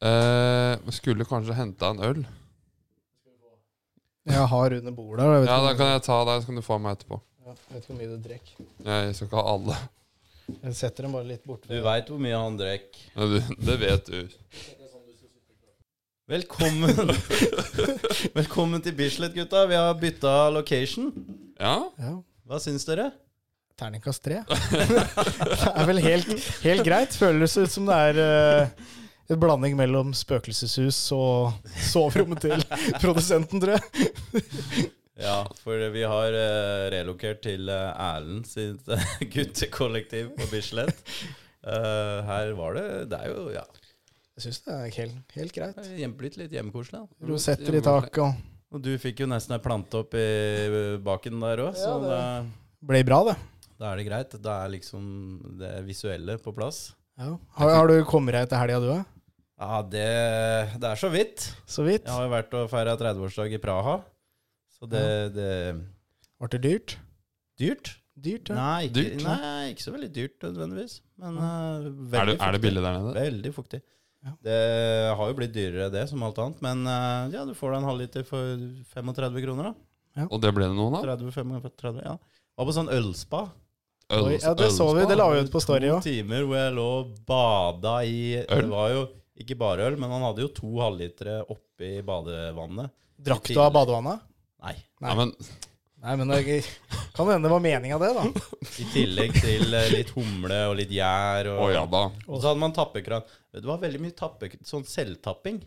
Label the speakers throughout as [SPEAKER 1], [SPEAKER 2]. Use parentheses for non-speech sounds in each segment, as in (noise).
[SPEAKER 1] Eh, skulle kanskje henta en øl.
[SPEAKER 2] Jeg har under bordet her. Jeg vet,
[SPEAKER 1] Ja, da
[SPEAKER 2] ikke,
[SPEAKER 1] kan jeg ta deg, så kan du få meg etterpå.
[SPEAKER 2] om- ja, jeg vet ikke hvor mye du drikker.
[SPEAKER 1] Jeg skal ikke ha alle. (laughs)
[SPEAKER 2] Jeg setter dem bare litt bort.
[SPEAKER 3] Du veit hvor mye han drekk.
[SPEAKER 1] Ja, du, det vet du.
[SPEAKER 3] Velkommen (laughs) Velkommen til Bislett, gutta. Vi har bytta location.
[SPEAKER 1] Ja?
[SPEAKER 2] Ja.
[SPEAKER 3] Hva syns dere?
[SPEAKER 2] Terningkast
[SPEAKER 1] (laughs)
[SPEAKER 2] tre. det er vel helt, helt greit. Føles ut som det er eh, en blanding mellom spøkelseshus og soverommet
[SPEAKER 1] (laughs)
[SPEAKER 2] til produsenten, tror jeg.
[SPEAKER 3] Ja, for vi har eh, relokert til eh, Erlend sitt eh, (laughs) guttekollektiv på Bislett. Eh, her var det Det er jo ja,
[SPEAKER 2] Jeg syns det er helt, helt greit.
[SPEAKER 3] hjem- blitt litt hjemmekoselig. da.
[SPEAKER 2] Rosetter i taket og
[SPEAKER 3] Og du fikk jo nesten ei plante opp i eh, baken der òg, så
[SPEAKER 2] Ja, det-
[SPEAKER 3] da,
[SPEAKER 2] Ble bra, det.
[SPEAKER 3] da er det greit. Da er liksom det visuelle på plass.
[SPEAKER 2] Ja. Har, har du kommet deg til helga, du òg?
[SPEAKER 3] Ja, det, det er så vidt.
[SPEAKER 2] Så vidt.
[SPEAKER 3] Jeg har jo vært og feira 30-årsdag i Praha, så det, det
[SPEAKER 2] Ble det dyrt?
[SPEAKER 3] Dyrt?
[SPEAKER 2] Dyrt, ja.
[SPEAKER 3] Nei, ikke,
[SPEAKER 1] Dyrt, nei.
[SPEAKER 3] nei, ikke så veldig dyrt nødvendigvis. Men
[SPEAKER 1] Er
[SPEAKER 3] eh,
[SPEAKER 1] det,
[SPEAKER 3] veldig
[SPEAKER 1] er det billig der nede?
[SPEAKER 3] Veldig fuktig.
[SPEAKER 2] Ja.
[SPEAKER 3] Det har jo blitt dyrere det, som alt annet. Men eh, ja, du får deg en halvliter for 35 kroner, da.
[SPEAKER 1] Og det ble det noen av?
[SPEAKER 3] 30, 35, ja. Var på sånn ølspa.
[SPEAKER 2] Oi, ja, det så vi.
[SPEAKER 1] ølspa?
[SPEAKER 2] Det la vi ut på Story
[SPEAKER 3] To
[SPEAKER 2] òg.
[SPEAKER 3] timer hvor jeg lå og bada i
[SPEAKER 1] Øl?
[SPEAKER 3] Det var jo ikke bare øl, men han hadde jo to halvlitere oppi badevannet.
[SPEAKER 2] Drakk du av badevannet?
[SPEAKER 3] Nei.
[SPEAKER 1] Ja, men
[SPEAKER 2] Nei, men det kan hende det var meninga, det, da.
[SPEAKER 3] I tillegg til eh, litt humle og litt gjær. Og,
[SPEAKER 1] Å ja da.
[SPEAKER 3] og så hadde man tappekran. Det var veldig mye tappe, sånn selvtapping.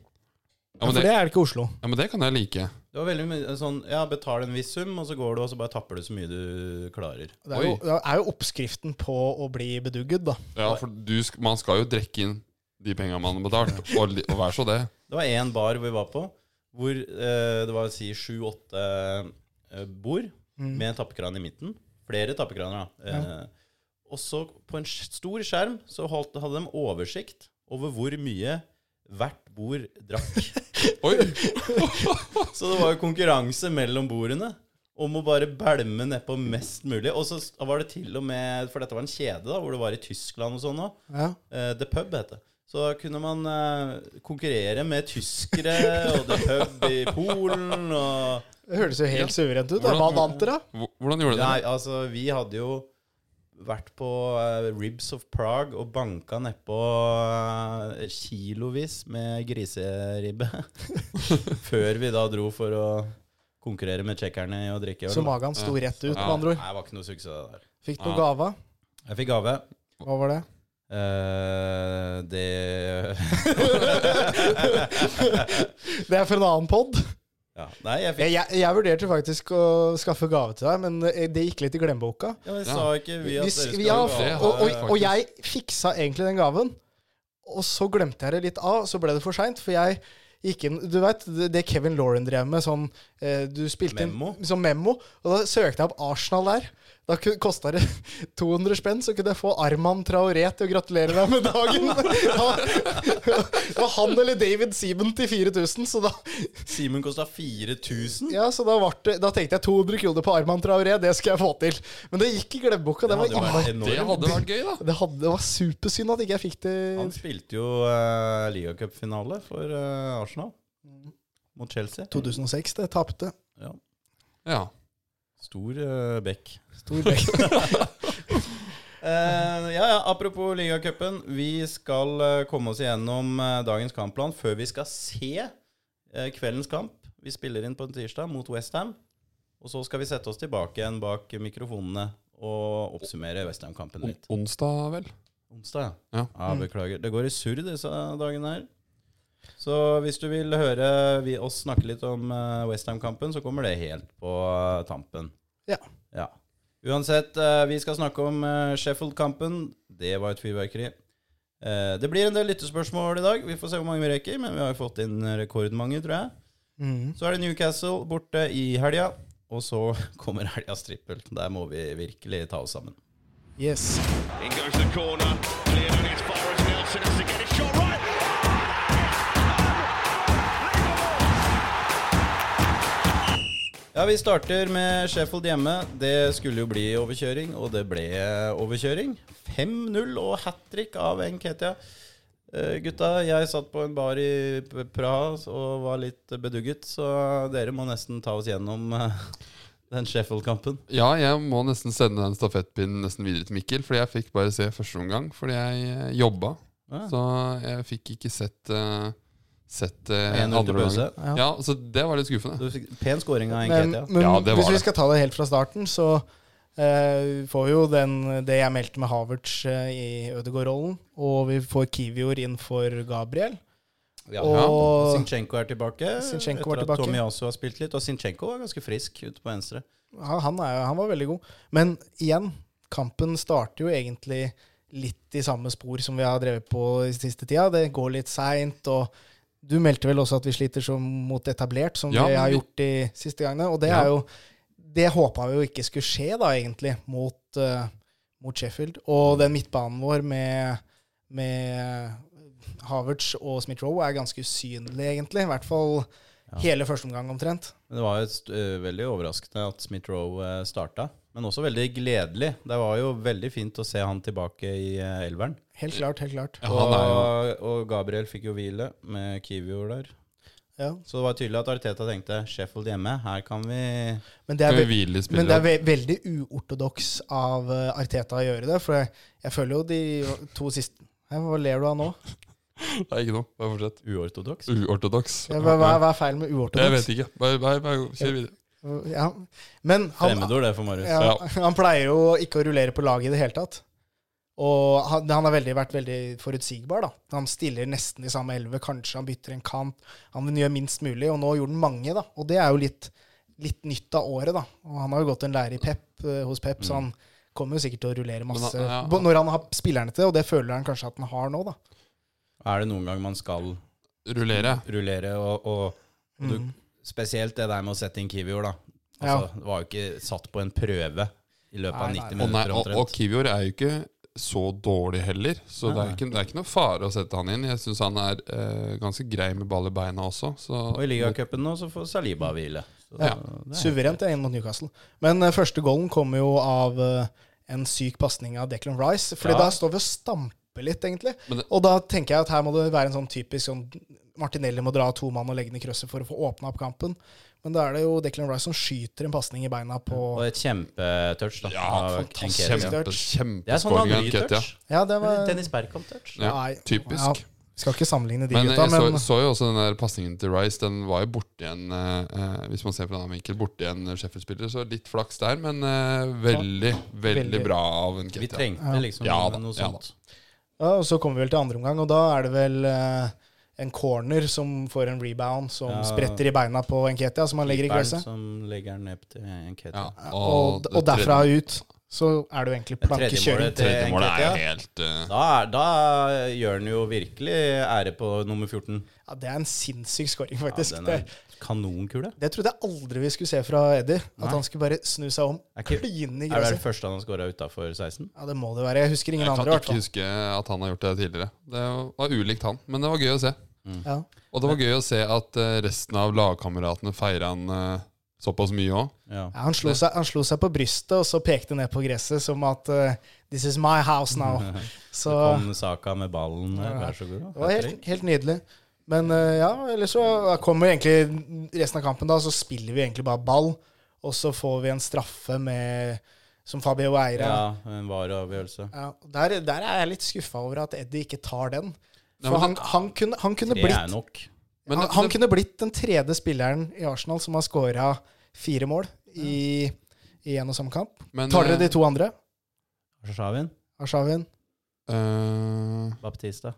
[SPEAKER 1] Ja men,
[SPEAKER 2] For
[SPEAKER 1] det,
[SPEAKER 2] det er det ikke i Oslo.
[SPEAKER 1] ja, men det kan jeg like.
[SPEAKER 3] Det var veldig mye sånn Ja, betal en viss sum, og så går du, og så bare tapper du så mye du klarer.
[SPEAKER 2] Det er jo,
[SPEAKER 1] Oi.
[SPEAKER 2] det er jo oppskriften på å bli bedugget, da.
[SPEAKER 1] Ja, for du, sk- man skal jo drekke inn de penga man har betalt, og, li- og vær så det.
[SPEAKER 3] Det var én bar vi var på, hvor eh, det var si sju-åtte eh, bord med en tappekran i midten. Flere tappekraner, da. Eh, Og så på en sk- stor skjerm så holdt, hadde de oversikt over hvor mye hvert bord drakk.
[SPEAKER 1] Oi!
[SPEAKER 3] Så det var jo konkurranse mellom bordene om å bare bælme nedpå mest mulig. Og så var det til og med For dette var en kjede da, hvor det var i Tyskland og sånn òg.
[SPEAKER 2] Ja.
[SPEAKER 3] Eh, The Pub heter det. Så da kunne man eh, konkurrere med tyskere og The Pub i Polen og
[SPEAKER 2] Det høres jo helt suverent ut. da. Hva
[SPEAKER 1] Hvordan-
[SPEAKER 2] vant dere, da?
[SPEAKER 1] Hvor- Hvordan gjorde
[SPEAKER 3] Nei,
[SPEAKER 1] dere det?
[SPEAKER 3] altså, vi hadde jo vært på eh, Ribs of Prague og banka nedpå eh, kilovis med griseribbe (laughs) før vi da dro for å konkurrere med tsjekkerne i å drikke øl.
[SPEAKER 2] Så
[SPEAKER 3] da.
[SPEAKER 2] magen sto rett ut, med
[SPEAKER 1] Ja.
[SPEAKER 2] andre ord.
[SPEAKER 3] Nei, det var ikke noe suksess det der.
[SPEAKER 2] Fikk du noe
[SPEAKER 1] Ja.
[SPEAKER 2] gave?
[SPEAKER 3] Jeg fikk gave.
[SPEAKER 2] Hva var det?
[SPEAKER 3] Eh, det (laughs)
[SPEAKER 2] Det er fra en annen pod.
[SPEAKER 3] ja. Nei, jeg fikk
[SPEAKER 2] Jeg, jeg, jeg vurderte faktisk å skaffe gave til deg, men eh, det gikk litt i glemmeboka.
[SPEAKER 3] ja, Vi sa ikke vi
[SPEAKER 2] Vi,
[SPEAKER 3] at dere
[SPEAKER 2] s-
[SPEAKER 3] skulle
[SPEAKER 2] ja,
[SPEAKER 1] Det
[SPEAKER 2] og,
[SPEAKER 1] har
[SPEAKER 2] og,
[SPEAKER 1] jeg
[SPEAKER 2] og jeg fiksa egentlig den gaven, og så glemte jeg det litt av, og så ble det for seint. For jeg gikk inn Du veit det det Kevin Lauren drev med, sånn eh, Du spilte
[SPEAKER 3] Memo?
[SPEAKER 2] inn som memo, og da søkte jeg opp Arsenal der. Da kosta det (laughs) 200 spenn, så kunne jeg få Arman Traoré til å gratulere deg med
[SPEAKER 3] (laughs)
[SPEAKER 2] dagen. (laughs) da, det var han eller David Seaman til 4000, så da,
[SPEAKER 3] Simen kosta 4000.
[SPEAKER 2] ja, så da, vart det, da tenkte jeg 200 kroner på Arman Traoré, det skal jeg få til. Men det gikk i glemmeboka. Det,
[SPEAKER 3] Det hadde
[SPEAKER 2] var
[SPEAKER 3] vært
[SPEAKER 2] innmari
[SPEAKER 1] Det hadde vært gøy, da.
[SPEAKER 2] det, hadde, det var supersynd at ikke jeg fikk det.
[SPEAKER 3] Han spilte jo uh, ligacupfinale for eh, Arsenal
[SPEAKER 2] Mm.
[SPEAKER 3] mot Chelsea.
[SPEAKER 2] 2006, det tapte.
[SPEAKER 3] Ja.
[SPEAKER 1] Ja.
[SPEAKER 3] Stor uh, bekk.
[SPEAKER 2] Stor bekk.
[SPEAKER 3] Eh, ja, ja, apropos ligacupen. Vi skal eh, komme oss igjennom eh, dagens kampplan før vi skal se eh, kveldens kamp. Vi spiller inn på en tirsdag mot Westham. Og så skal vi sette oss tilbake igjen bak mikrofonene og oppsummere Westham-kampen
[SPEAKER 1] On,
[SPEAKER 3] litt.
[SPEAKER 1] onsdag, vel?
[SPEAKER 3] Onsdag,
[SPEAKER 1] Ja.
[SPEAKER 3] ja. Ah, Beklager. Det går i surr disse dagene her. Så hvis du vil høre vi, oss snakke litt om eh, Westham-kampen, så kommer det helt på eh, tampen.
[SPEAKER 2] Ja.
[SPEAKER 3] Ja. Uansett, eh, vi skal snakke om eh, Sheffield-kampen. Det var et fyrverkeri. Eh, det blir en del lyttespørsmål i dag. Vi får se hvor mange vi rekker, men vi har jo fått inn rekordmange, tror jeg.
[SPEAKER 2] Mhm.
[SPEAKER 3] Så er det Newcastle borte i helga, og så (laughs) kommer helgas trippel. Der må vi virkelig ta oss sammen.
[SPEAKER 2] (laughs) Yes.
[SPEAKER 4] In goes the corner, cleared and it's far as Nelson has to get it shot right.
[SPEAKER 3] Ja, Vi starter med Sheffield hjemme. Det skulle jo bli overkjøring, og det ble overkjøring. 5-0 og hat trick av Nketia. Eh, gutta, jeg satt på en bar i P- Praha og var litt bedugget, så dere må nesten ta oss gjennom eh, den Sheffield-kampen.
[SPEAKER 1] Ja, jeg må nesten sende den stafettpinnen nesten videre til Mikkel, fordi jeg fikk bare se første omgang, fordi jeg eh, jobba.
[SPEAKER 3] Ah.
[SPEAKER 1] Så jeg fikk ikke sett, eh, sett eh,
[SPEAKER 3] 1-0 til
[SPEAKER 1] andre omgang.
[SPEAKER 3] pause.
[SPEAKER 2] Ja.
[SPEAKER 1] Ja, så det var litt skuffende.
[SPEAKER 3] Du fikk pen scoring av
[SPEAKER 2] Men,
[SPEAKER 3] Nketia.
[SPEAKER 2] men
[SPEAKER 1] Ja, det var
[SPEAKER 2] hvis vi
[SPEAKER 1] det.
[SPEAKER 2] skal ta det helt fra starten, så eh, får vi jo den, det jeg meldte med Havertz eh, i Ødegaard-rollen, og vi får Kivior inn for Gabriel.
[SPEAKER 3] Ja.
[SPEAKER 2] og-
[SPEAKER 3] Sinchenko er tilbake.
[SPEAKER 2] Zinchenko er
[SPEAKER 3] etter
[SPEAKER 2] tilbake.
[SPEAKER 3] at Tomiyasu har spilt litt. Og Sinchenko var ganske frisk ute på venstre.
[SPEAKER 2] Ja, han, er, jo- han var veldig god. Men igjen, kampen starter jo egentlig litt i samme spor som vi har drevet på i siste tida. Det går litt seint, og du meldte vel også at vi sliter som mot etablert, som
[SPEAKER 1] Ja,
[SPEAKER 2] vi
[SPEAKER 1] men
[SPEAKER 2] har
[SPEAKER 1] vi-
[SPEAKER 2] gjort de siste gangene. Og det
[SPEAKER 1] Ja.
[SPEAKER 2] er jo Det håpa vi jo ikke skulle skje, da, egentlig, mot, eh, mot Sheffield. Og den midtbanen vår med, med Havertz og Smith-Roe er ganske usynlig, egentlig. I hvert fall hele første omgang, omtrent.
[SPEAKER 3] Men det var jo st- øh, veldig overraskende at Smith Roe starta. Men også veldig gledelig. Det var jo veldig fint å se han tilbake i eh, elveren.
[SPEAKER 2] Helt klart, helt klart.
[SPEAKER 1] Ja, han er jo
[SPEAKER 3] og, og Gabriel fikk jo hvile med Kivior der.
[SPEAKER 2] Ja.
[SPEAKER 3] Så det var tydelig at Arteta tenkte Sheffield hjemme, her kan vi
[SPEAKER 2] Men det
[SPEAKER 1] Skal
[SPEAKER 2] er,
[SPEAKER 1] vi hvile litt
[SPEAKER 2] Men det er
[SPEAKER 1] spillere?
[SPEAKER 2] ve veldig uortodoks av eh, Arteta å gjøre det, for jeg, jeg føler jo de to siste Hæ, Hva ler du av nå?
[SPEAKER 1] Det er ikke noe. Bare fortsett.
[SPEAKER 3] Uortodoks.
[SPEAKER 1] Mm. Uortodoks.
[SPEAKER 2] Ja, Hva, hva, hva er feilen med
[SPEAKER 1] Jeg
[SPEAKER 2] uortodoks?
[SPEAKER 1] vet ikke. Bare, bare, bare kjør videre.
[SPEAKER 2] Ja. Men han,
[SPEAKER 3] Fremmedord, det, for Marius.
[SPEAKER 2] ja, (laughs) han pleier jo ikke å rullere på laget i det hele tatt. Og han, han har veldig, vært veldig forutsigbar, da. Han stiller nesten i samme elleve, kanskje han bytter en kant. Han gjør minst mulig, og nå gjorde han mange, da. Og det er jo litt, litt nytt av året, da. Og han har jo gått en lærer i Pep, eh, hos Pep, så han kommer jo sikkert til å rullere
[SPEAKER 1] han-
[SPEAKER 2] masse
[SPEAKER 1] ja,
[SPEAKER 2] bo- når han har spillerne til det, og det føler han kanskje at han har nå, da.
[SPEAKER 3] Er det noen gang man skal
[SPEAKER 1] Rullere.
[SPEAKER 3] rullere og, og
[SPEAKER 1] Mm.
[SPEAKER 3] du, Spesielt det der med å sette inn Kivior, da. Altså, Det var jo ikke satt på en prøve i løpet av
[SPEAKER 2] Nei,
[SPEAKER 3] 90
[SPEAKER 1] Og, nei,
[SPEAKER 3] minutter
[SPEAKER 1] og, og
[SPEAKER 3] omtrent.
[SPEAKER 1] Kivior er jo ikke så dårlig heller, så det er, ikke, det er ikke noe fare å sette han inn. Jeg syns han er eh, ganske grei med ball i beina også. Så
[SPEAKER 3] Og i ligacupen nå så får Saliba hvile. Så,
[SPEAKER 1] Ja.
[SPEAKER 3] det er-
[SPEAKER 2] Suverent det er inn mot Newcastle. Men eh, første goalen kommer jo av eh, en syk pasning av Declan Rice. Fordi
[SPEAKER 3] Ja.
[SPEAKER 2] da står vi og stamper litt, egentlig.
[SPEAKER 1] Men det-
[SPEAKER 2] og da tenker jeg at her må det være en sånn typisk sånn Martinelli må dra av to mann og legge ned krøsset for å få åpna opp kampen. Men da er det jo Declan Rice som skyter en pasning i beina på
[SPEAKER 3] Og et kjempetouch. da,
[SPEAKER 1] ja,
[SPEAKER 3] av
[SPEAKER 1] fantastisk.
[SPEAKER 3] Nketiah.
[SPEAKER 1] Kjempe,
[SPEAKER 3] Det er sånn
[SPEAKER 1] kjempeskåring av Nketia.
[SPEAKER 3] Henry-touch.
[SPEAKER 2] Ja, det var
[SPEAKER 3] Dennis Berkamp-touch.
[SPEAKER 1] Ja,
[SPEAKER 2] Nei, ja.
[SPEAKER 1] typisk.
[SPEAKER 2] Skal ikke sammenligne de
[SPEAKER 1] Men eh,
[SPEAKER 2] gutta,
[SPEAKER 1] jeg så,
[SPEAKER 2] men
[SPEAKER 1] så jo også den der pasningen til Rice. Den var jo borti en eh, eh, Hvis man ser fra en annen vinkel, borti en Sheffield-spiller, så litt flaks der, men eh, veldig, veldig
[SPEAKER 2] Veldig.
[SPEAKER 1] bra av en
[SPEAKER 3] Vi trengte liksom
[SPEAKER 1] Ja da,
[SPEAKER 3] noe
[SPEAKER 1] ja
[SPEAKER 3] sånt.
[SPEAKER 2] ja, og så kommer vi vel til andre omgang, og da er det vel eh, en corner som får en rebound som
[SPEAKER 3] Ja.
[SPEAKER 2] spretter i beina på Enketia, som han legger i
[SPEAKER 3] Bernt
[SPEAKER 2] gresset.
[SPEAKER 3] som legger den ned til Nketia.
[SPEAKER 1] Ja,
[SPEAKER 2] Og, og
[SPEAKER 1] det tredje-
[SPEAKER 2] derfra ut så er det jo egentlig plankekjøring.
[SPEAKER 3] målet til
[SPEAKER 1] Tredje målet er jo
[SPEAKER 3] Nketiah.
[SPEAKER 1] helt eh,
[SPEAKER 3] Da, er- da gjør han jo virkelig ære på nummer 14.
[SPEAKER 2] Ja, det er en sinnssyk scoring,
[SPEAKER 3] Ja,
[SPEAKER 2] faktisk.
[SPEAKER 3] den
[SPEAKER 2] det,
[SPEAKER 3] er kanonkule.
[SPEAKER 2] det trodde jeg aldri vi skulle se fra Eddie. At han skulle bare snu seg om,
[SPEAKER 3] Er ikke-
[SPEAKER 2] kline i
[SPEAKER 3] Er
[SPEAKER 2] gresset.
[SPEAKER 3] det det første han har skåra utafor 16?
[SPEAKER 2] Ja, det må det være. Jeg husker ingen
[SPEAKER 1] Jeg kan
[SPEAKER 2] andre, i hvert
[SPEAKER 1] ikke
[SPEAKER 2] fall.
[SPEAKER 1] huske at han har gjort det tidligere. Det var ulikt han, men det var gøy å se.
[SPEAKER 2] Ja.
[SPEAKER 1] Og det var gøy å se at eh, resten av lagkameratene feira han eh, såpass mye òg.
[SPEAKER 3] Ja.
[SPEAKER 2] Ja, han, slo seg, han slo seg på brystet, og så pekte ned på gresset som at eh, This is my house
[SPEAKER 3] (laughs)
[SPEAKER 2] now. Så
[SPEAKER 3] Kom Saka med ballen. Vær så god.
[SPEAKER 2] det var helt, helt nydelig. Men eh, ja, ellers så kommer egentlig resten av kampen, da. Så spiller vi egentlig bare ball, og så får vi en straffe med som Fabio Eira
[SPEAKER 3] Ja, en vareavgjørelse.
[SPEAKER 2] Ja, der, der er jeg litt skuffa over at Eddie ikke tar den.
[SPEAKER 1] Nei,
[SPEAKER 2] For
[SPEAKER 1] men
[SPEAKER 2] han, han, kunne, han, kunne
[SPEAKER 3] Det er
[SPEAKER 2] blitt,
[SPEAKER 3] nok.
[SPEAKER 1] Men
[SPEAKER 2] han,
[SPEAKER 1] det-
[SPEAKER 2] han
[SPEAKER 1] det-
[SPEAKER 2] kunne blitt den tredje spilleren i Arsenal som har scora fire mål i, i en og samme kamp.
[SPEAKER 1] men,
[SPEAKER 2] Tar dere
[SPEAKER 1] eh,
[SPEAKER 2] de to andre?
[SPEAKER 3] Arshavin,
[SPEAKER 2] Arshavin?
[SPEAKER 1] eh,
[SPEAKER 3] Baptista.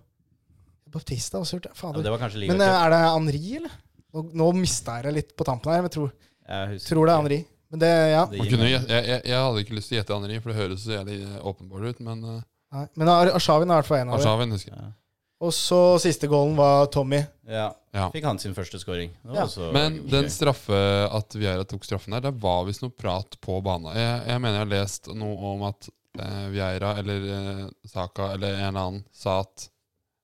[SPEAKER 2] Baptista har også gjort det.
[SPEAKER 3] Ja,
[SPEAKER 2] Fader.
[SPEAKER 3] det var kanskje
[SPEAKER 2] Men eh,
[SPEAKER 3] ligacup.
[SPEAKER 2] er det Henri, eller? Nå, nå mista jeg det litt på tampen her, men jeg tror,
[SPEAKER 3] Jeg husker
[SPEAKER 2] tror det er
[SPEAKER 3] ikke.
[SPEAKER 2] Henri. Men det, ja.
[SPEAKER 3] Det
[SPEAKER 1] man
[SPEAKER 3] gir
[SPEAKER 1] kunne,
[SPEAKER 3] meg-
[SPEAKER 1] gjet- jeg, jeg, jeg hadde ikke lyst til å gjette Henri, for det høres så jævlig åpenbart ut, men eh,
[SPEAKER 2] Nei. Men Ar- Arshavin er i hvert fall en av dem.
[SPEAKER 1] Arshavin husker jeg.
[SPEAKER 2] Og så siste goalen var Tommy.
[SPEAKER 3] Ja.
[SPEAKER 1] Ja.
[SPEAKER 3] Fikk han sin første scoring. Det var
[SPEAKER 2] Ja.
[SPEAKER 3] også
[SPEAKER 1] Men
[SPEAKER 3] gøy.
[SPEAKER 1] den straffe at Vieira tok straffen der, det var visst noe prat på banen. Jeg, jeg mener jeg har lest noe om at eh, Vieira eller eh, Saka eller en eller annen sa at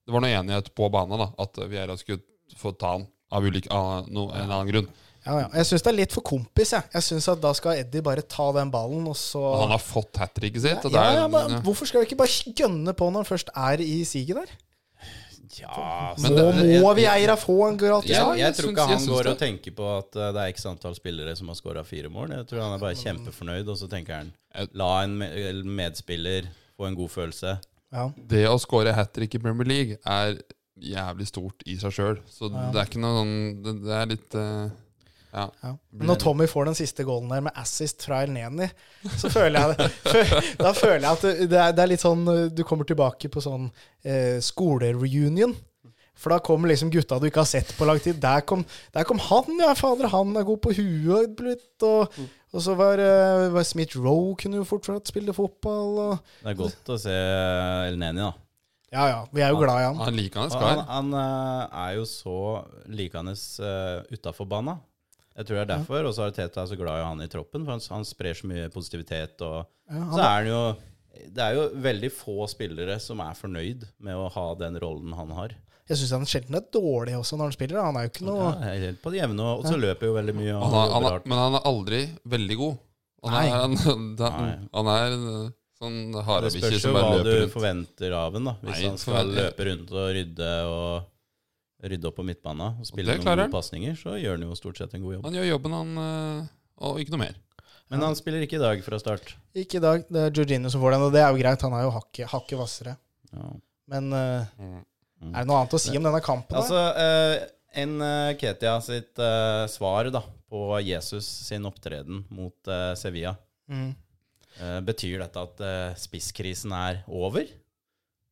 [SPEAKER 1] Det var noe enighet på banen, da, at Vieira skulle få ta han av ulik, av no, en eller annen grunn.
[SPEAKER 2] Ja, ja. Jeg syns det er litt for kompis, jeg. Jeg syns at da skal Eddie bare ta den ballen, og så
[SPEAKER 1] Og han har fått hat tricket sitt. og det
[SPEAKER 2] Ja,
[SPEAKER 1] er- eh,
[SPEAKER 2] ja, men hvorfor skal vi ikke bare gønne på når han først er i siget der?
[SPEAKER 3] Ja,
[SPEAKER 1] Men det-
[SPEAKER 2] Nå
[SPEAKER 1] jeg-
[SPEAKER 2] må vi eiere få en gratis
[SPEAKER 1] Ja,
[SPEAKER 3] Jeg,
[SPEAKER 2] arm.
[SPEAKER 1] jeg
[SPEAKER 3] jeg tror
[SPEAKER 1] syns-
[SPEAKER 3] ikke
[SPEAKER 1] jeg
[SPEAKER 3] han
[SPEAKER 1] syns
[SPEAKER 3] går
[SPEAKER 1] det.
[SPEAKER 3] og tenker på at eh, det er x antall spillere som har scora fire mål. Jeg tror han er bare kjempefornøyd, og så tenker han la en me- eller medspiller få en god følelse.
[SPEAKER 2] Ja.
[SPEAKER 1] Det å score hat trick i Premier League er jævlig stort i seg sjøl. Så det er ikke noe sånn Det, det er litt eh, Ja.
[SPEAKER 2] Ja. Men når Tommy får den siste goalen der med assist fra Elneni, så føler jeg det. (laughs) fø- Da føler jeg at det- det er, det er litt sånn eh, Du kommer tilbake på sånn eh, skolereunion. For da kommer liksom gutta du ikke har sett på lang tid. Der kom, der kom han, ja, fader. Han er god på huet. blitt, Og, og så var, eh, var Smith Roe kunne jo fortsatt spille fotball. Og,
[SPEAKER 3] Det er godt å se Elneni, da.
[SPEAKER 2] ja ja, vi er jo glad i han.
[SPEAKER 1] Han liker han
[SPEAKER 3] Og Han,
[SPEAKER 1] skar.
[SPEAKER 3] han eh, er jo så likende uh, utafor bana. Jeg tror det er derfor. Og så er Teta så glad i han i troppen, for han, han sprer så mye positivitet. Og så er han jo Det er jo veldig få spillere som er fornøyd med å ha den rollen han har.
[SPEAKER 2] Jeg syns han sjelden er dårlig også når han spiller. da. Han er jo ikke noe
[SPEAKER 3] Ja, helt på det jevne, og så løper jo veldig mye. Og
[SPEAKER 1] Han er, han
[SPEAKER 3] jobber
[SPEAKER 1] er,
[SPEAKER 3] hardt.
[SPEAKER 1] men han er aldri veldig god. Han er, han, da-
[SPEAKER 3] Nei.
[SPEAKER 1] han er en, eh, sånn
[SPEAKER 3] det
[SPEAKER 1] harebikkje
[SPEAKER 3] spørs jo
[SPEAKER 1] som
[SPEAKER 3] hva
[SPEAKER 1] bare
[SPEAKER 3] du
[SPEAKER 1] løper rundt.
[SPEAKER 3] forventer av en, da. Hvis
[SPEAKER 1] Nei,
[SPEAKER 3] han skal
[SPEAKER 1] forvent-
[SPEAKER 3] løpe rundt og rydde og rydde opp på midtbanen og spille
[SPEAKER 1] det
[SPEAKER 3] noen
[SPEAKER 1] klarer
[SPEAKER 3] gode
[SPEAKER 1] han.
[SPEAKER 3] pasninger, så gjør han jo stort sett en god jobb.
[SPEAKER 1] Han gjør jobben, han, eh, og ikke noe mer.
[SPEAKER 3] Men han spiller ikke i dag fra start.
[SPEAKER 2] Ikke i dag. Det er Jorginho som får den, og det er jo greit. Han er jo hakket hakke hvassere.
[SPEAKER 3] Ja.
[SPEAKER 2] Men eh,
[SPEAKER 3] Mm.
[SPEAKER 2] er det noe annet å si om denne kampen? da?
[SPEAKER 3] Altså, eh, en eh, Ketia sitt eh, svar da, på Jesus sin opptreden mot eh, Sevilla,
[SPEAKER 2] Mm.
[SPEAKER 3] eh, betyr dette at eh, spisskrisen er over?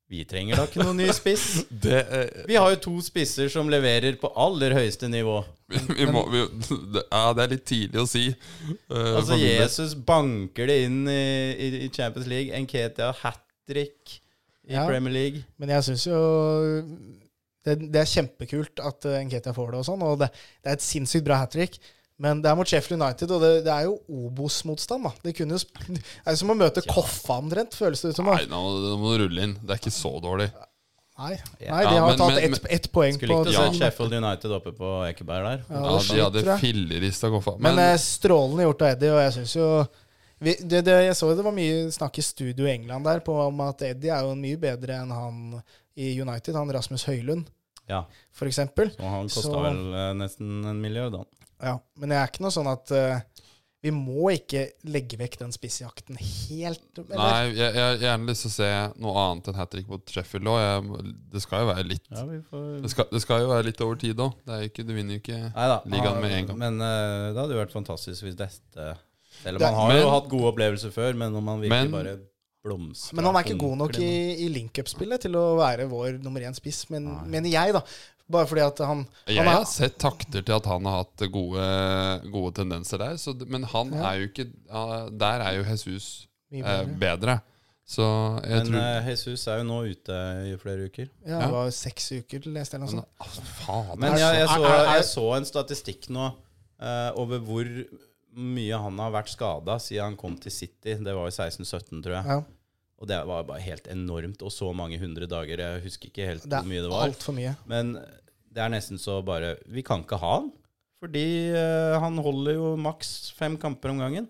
[SPEAKER 3] Vi trenger da ikke noen ny (laughs) spiss.
[SPEAKER 1] Det,
[SPEAKER 3] Vi har jo to spisser som leverer på aller høyeste nivå.
[SPEAKER 1] vi, (laughs) vi må, vi, det, ja, det er litt tidlig å si. eh, for
[SPEAKER 3] Altså,
[SPEAKER 1] min del.
[SPEAKER 3] Jesus banker det inn i, i, i Champions League. Enketia hat trick i
[SPEAKER 2] Ja.
[SPEAKER 3] Premier League.
[SPEAKER 2] Men jeg syns jo det, det er kjempekult at eh, Nketia får det og sånn, og det, det er et sinnssykt bra hat trick. Men det er mot Sheffield United, og det, det er jo Obos-motstand. da. Det, kunne jo, sp- (laughs) det er jo som å møte Koffa omtrent, føles det ut som. da.
[SPEAKER 1] Nei, nå må- nå må du rulle inn. Det er ikke så dårlig.
[SPEAKER 2] Nei,
[SPEAKER 3] Ja,
[SPEAKER 2] Nei de har
[SPEAKER 1] men-
[SPEAKER 2] tatt
[SPEAKER 1] men-
[SPEAKER 2] ett ett poeng på
[SPEAKER 3] Skulle likt å se
[SPEAKER 1] Ja.
[SPEAKER 3] Sheffield United oppe på Ekeberg der.
[SPEAKER 2] Ja,
[SPEAKER 1] Ja,
[SPEAKER 2] det
[SPEAKER 1] de
[SPEAKER 2] sliter,
[SPEAKER 1] hadde
[SPEAKER 2] jeg.
[SPEAKER 1] fillerista koffa.
[SPEAKER 2] Men,
[SPEAKER 1] Men,
[SPEAKER 2] eh, strålende gjort av Eddie, og jeg syns jo vi, det, det, Jeg så det var mye snakk i studio i England der på om at Eddie er jo mye bedre enn han i United, han Rasmus Høylund,
[SPEAKER 3] Ja,
[SPEAKER 2] for eksempel.
[SPEAKER 3] og han kosta
[SPEAKER 2] Så-
[SPEAKER 3] vel eh, nesten en milliard, han.
[SPEAKER 2] Ja, men det er ikke noe sånn at eh, vi må ikke legge vekk den spissjakten helt. Eller?
[SPEAKER 1] nei, jeg jeg har gjerne lyst til å se noe annet enn hat trick mot Sheffield òg. Det skal jo være litt
[SPEAKER 3] Ja, vi får...
[SPEAKER 1] det skal, det skal jo være litt over tid òg. Det er jo ikke- Du vinner jo ikke
[SPEAKER 3] Nei da.
[SPEAKER 1] Ligaen med en gang.
[SPEAKER 3] Men eh, det hadde jo vært fantastisk hvis dette Eller
[SPEAKER 2] Det-
[SPEAKER 3] man har
[SPEAKER 1] Men-
[SPEAKER 3] jo hatt gode opplevelser før, men om man virkelig
[SPEAKER 1] Men-
[SPEAKER 3] bare blomstrer
[SPEAKER 2] Men han er ikke god nok i, i link-up-spillet til å være vår nummer én spiss, men, mener jeg, da. Bare fordi at han,
[SPEAKER 1] Jeg
[SPEAKER 2] han
[SPEAKER 1] har
[SPEAKER 2] er,
[SPEAKER 1] sett takter til at han har hatt gode, gode tendenser der, så, det- men han
[SPEAKER 2] Ja.
[SPEAKER 1] er jo ikke ja, Der er jo Jesus
[SPEAKER 2] Mye
[SPEAKER 1] eh,
[SPEAKER 2] bedre.
[SPEAKER 1] bedre. Så jeg
[SPEAKER 3] Men
[SPEAKER 1] tror
[SPEAKER 3] eh, Jesus er jo nå ute i flere uker.
[SPEAKER 2] ja, det var seks uker, leste jeg eller
[SPEAKER 1] men,
[SPEAKER 2] noe sånt.
[SPEAKER 1] ah, faen,
[SPEAKER 3] Men
[SPEAKER 1] det er
[SPEAKER 3] jeg, jeg,
[SPEAKER 1] så-
[SPEAKER 3] så,
[SPEAKER 2] er- er-
[SPEAKER 3] jeg så en statistikk nå eh, over hvor mye han har vært skada siden han kom til City. Det var i 16-17, tror jeg.
[SPEAKER 2] Ja,
[SPEAKER 3] Og det var bare helt enormt. Og så mange hundre dager. Jeg husker ikke helt
[SPEAKER 2] det
[SPEAKER 3] hvor mye
[SPEAKER 2] er
[SPEAKER 3] det var.
[SPEAKER 2] altfor mye.
[SPEAKER 3] Men det er nesten så bare Vi kan ikke ha han. Fordi eh, han holder jo maks fem kamper om gangen.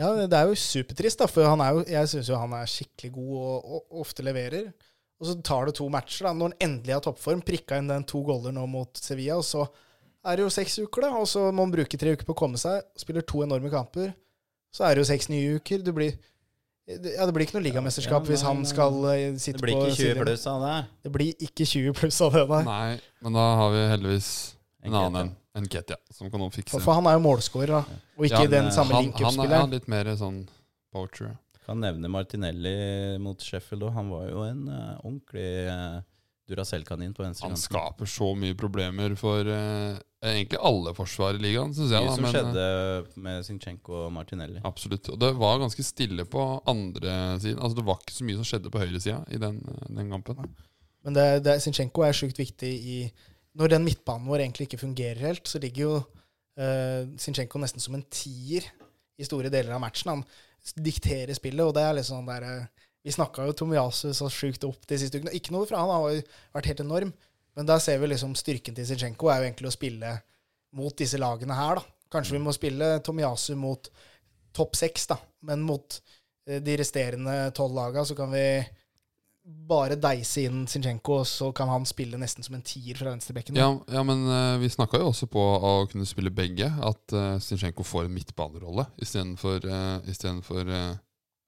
[SPEAKER 2] Ja, det er jo supertrist, da, for han er jo, jeg syns jo han er skikkelig god og, og ofte leverer. Og så tar det to matcher, da, når han endelig har toppform. Prikka inn den to goller nå mot Sevilla, og så er det jo seks uker, da. Og så må han bruke tre uker på å komme seg. Spiller to enorme kamper. Så er det jo seks nye uker. Du blir ja, Det blir ikke noe ligamesterskap
[SPEAKER 3] Ja, nei,
[SPEAKER 2] hvis han
[SPEAKER 3] nei.
[SPEAKER 2] skal eh,
[SPEAKER 3] Det
[SPEAKER 2] sitte
[SPEAKER 3] blir
[SPEAKER 2] på
[SPEAKER 3] ikke 20
[SPEAKER 2] sidelinjen.
[SPEAKER 3] pluss av det.
[SPEAKER 2] Det blir ikke 20 pluss av det, nei.
[SPEAKER 1] Nei, men da har vi heldigvis en
[SPEAKER 3] Enketia.
[SPEAKER 1] annen enn Ketia, som kan nå fikse
[SPEAKER 2] For, for han er jo målskårer, da. Og ikke
[SPEAKER 1] Ja,
[SPEAKER 2] den
[SPEAKER 3] men,
[SPEAKER 1] han,
[SPEAKER 2] samme
[SPEAKER 1] han, er, han
[SPEAKER 2] link-up-spilleren.
[SPEAKER 1] er litt mer sånn poacher.
[SPEAKER 3] Kan nevne Martinelli mot Sheffield òg. Han var jo en eh, ordentlig eh, Duracell-kanin på venstre
[SPEAKER 1] Han
[SPEAKER 3] kant.
[SPEAKER 1] skaper så mye problemer for eh, egentlig alle forsvar i ligaen, syns jeg.
[SPEAKER 3] Mye
[SPEAKER 1] Da,
[SPEAKER 3] som
[SPEAKER 1] men, eh,
[SPEAKER 3] skjedde med Zinchenko og Martinelli.
[SPEAKER 1] Absolutt. Og det var ganske stille på andre siden. Altså Det var ikke så mye som skjedde på høyresida i den, eh, den kampen.
[SPEAKER 2] Men det, det, Zinchenko er sjukt viktig i Når den midtbanen vår egentlig ikke fungerer helt, så ligger jo eh, Zinchenko nesten som en tier i store deler av matchen. Han s- dikterer spillet, og det er liksom der eh, Vi snakka jo Tomiasu så sjukt opp de siste ukene. Ikke noe fra han, han har jo vært helt enorm. Men der ser vi liksom styrken til Zinchenko er jo egentlig å spille mot disse lagene her, da. Kanskje vi må spille Tomiasu mot topp seks, da. Men mot eh, de resterende tolv laga så kan vi bare deise inn Zinchenko, og så kan han spille nesten som en tier fra venstrebekken.
[SPEAKER 1] Ja, ja men eh, vi snakka jo også på å kunne spille begge, at uh, Zinchenko får en midtbanerolle istedenfor uh, istedenfor eh,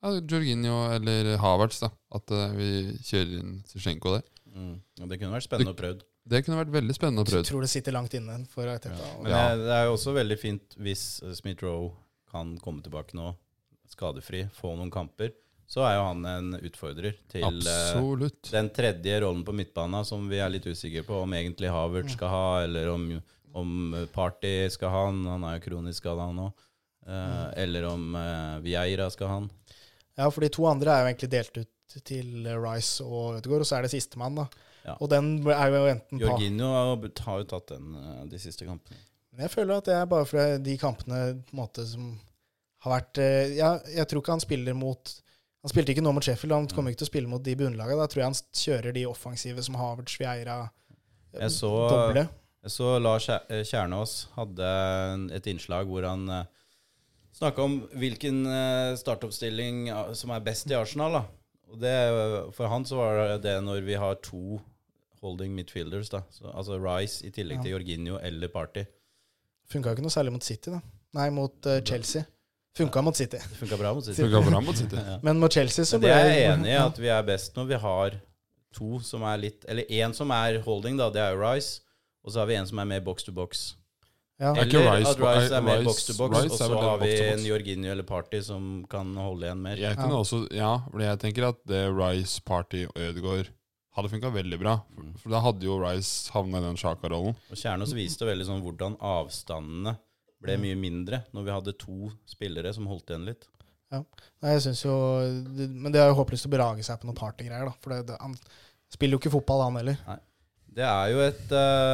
[SPEAKER 1] ja, Jorginho eller Havertz. da At eh, vi kjører inn Zinchenko der.
[SPEAKER 3] Mm. Og Det kunne vært spennende å prøve.
[SPEAKER 1] Det kunne vært veldig spennende å
[SPEAKER 2] Jeg
[SPEAKER 1] prøve.
[SPEAKER 2] tror det sitter langt inne for Arteta.
[SPEAKER 3] Men
[SPEAKER 1] Ja.
[SPEAKER 3] eh, det er jo også veldig fint hvis Smith-Roe kan komme tilbake nå, skadefri, få noen kamper. Så er jo han en utfordrer til eh,
[SPEAKER 1] Absolutt.
[SPEAKER 3] den tredje rollen på midtbana som vi er litt usikre på om egentlig Havert skal ha, eller om, om Party skal ha han. Han er jo kronisk skada, han òg. Eller om eh, Vieira skal ha han.
[SPEAKER 2] Ja, for de to andre er jo egentlig delt ut til eh, Rice og Ødegaard, og så er det sistemann, da.
[SPEAKER 3] Ja.
[SPEAKER 2] Og den er jo enten pa-
[SPEAKER 3] Jorginho har jo- har jo tatt den eh, de siste kampene.
[SPEAKER 2] Men jeg føler at det er bare fordi de kampene på en måte som har vært eh, ja, Jeg tror ikke han spiller mot Han spilte ikke nå mot Sheffield, han
[SPEAKER 3] Mm.
[SPEAKER 2] kommer ikke til å spille mot de bunnlagene. Da tror jeg han s- kjører de offensive som Havertz, Vieira,
[SPEAKER 3] Jeg så,
[SPEAKER 2] doble.
[SPEAKER 3] Så Lars Kjær- eh, Kjernås hadde en- et innslag hvor han eh, snakka om hvilken eh, startoppstilling eh, som er best i Arsenal. Da. Og det, eh, for han så var det det når vi har to holding midfielders, da. Så, altså Rice i tillegg til Jorginho eller Party.
[SPEAKER 2] Funka jo ikke noe særlig mot City, da. Nei, mot eh, Chelsea. Funka mot City.
[SPEAKER 3] Det funka bra mot City.
[SPEAKER 1] Funka bra mot City.
[SPEAKER 2] Men mot Chelsea så
[SPEAKER 3] Det
[SPEAKER 2] ble
[SPEAKER 3] er jeg enig i, at vi er best når vi har to som er litt Eller én som er holding, da. Det er jo Rice. Og så har vi en som er mer box to box.
[SPEAKER 2] Ja.
[SPEAKER 1] Er ikke
[SPEAKER 3] Eller
[SPEAKER 1] Rice-
[SPEAKER 3] at Rice
[SPEAKER 1] Rice-
[SPEAKER 3] er mer
[SPEAKER 1] Rice-
[SPEAKER 3] box to box,
[SPEAKER 1] Rice
[SPEAKER 3] og
[SPEAKER 1] er
[SPEAKER 3] så
[SPEAKER 1] vel en
[SPEAKER 3] har vi
[SPEAKER 1] box to box.
[SPEAKER 3] en Jorginho eller Party som kan holde igjen mer.
[SPEAKER 1] Jeg kunne også, ja, fordi jeg tenker at det Rice, Party og Ødegaard hadde funka veldig bra. For, for da hadde jo Rice havna i den Sjaka-rollen.
[SPEAKER 3] Og Kjernås viste veldig sånn hvordan avstandene ble mye mindre når vi hadde to spillere som holdt igjen litt.
[SPEAKER 2] Nei, jeg synes jo Men det er jo håpløst å berage seg på noen partygreier, da. For det, det, han spiller jo ikke fotball, han heller.
[SPEAKER 3] Det er jo et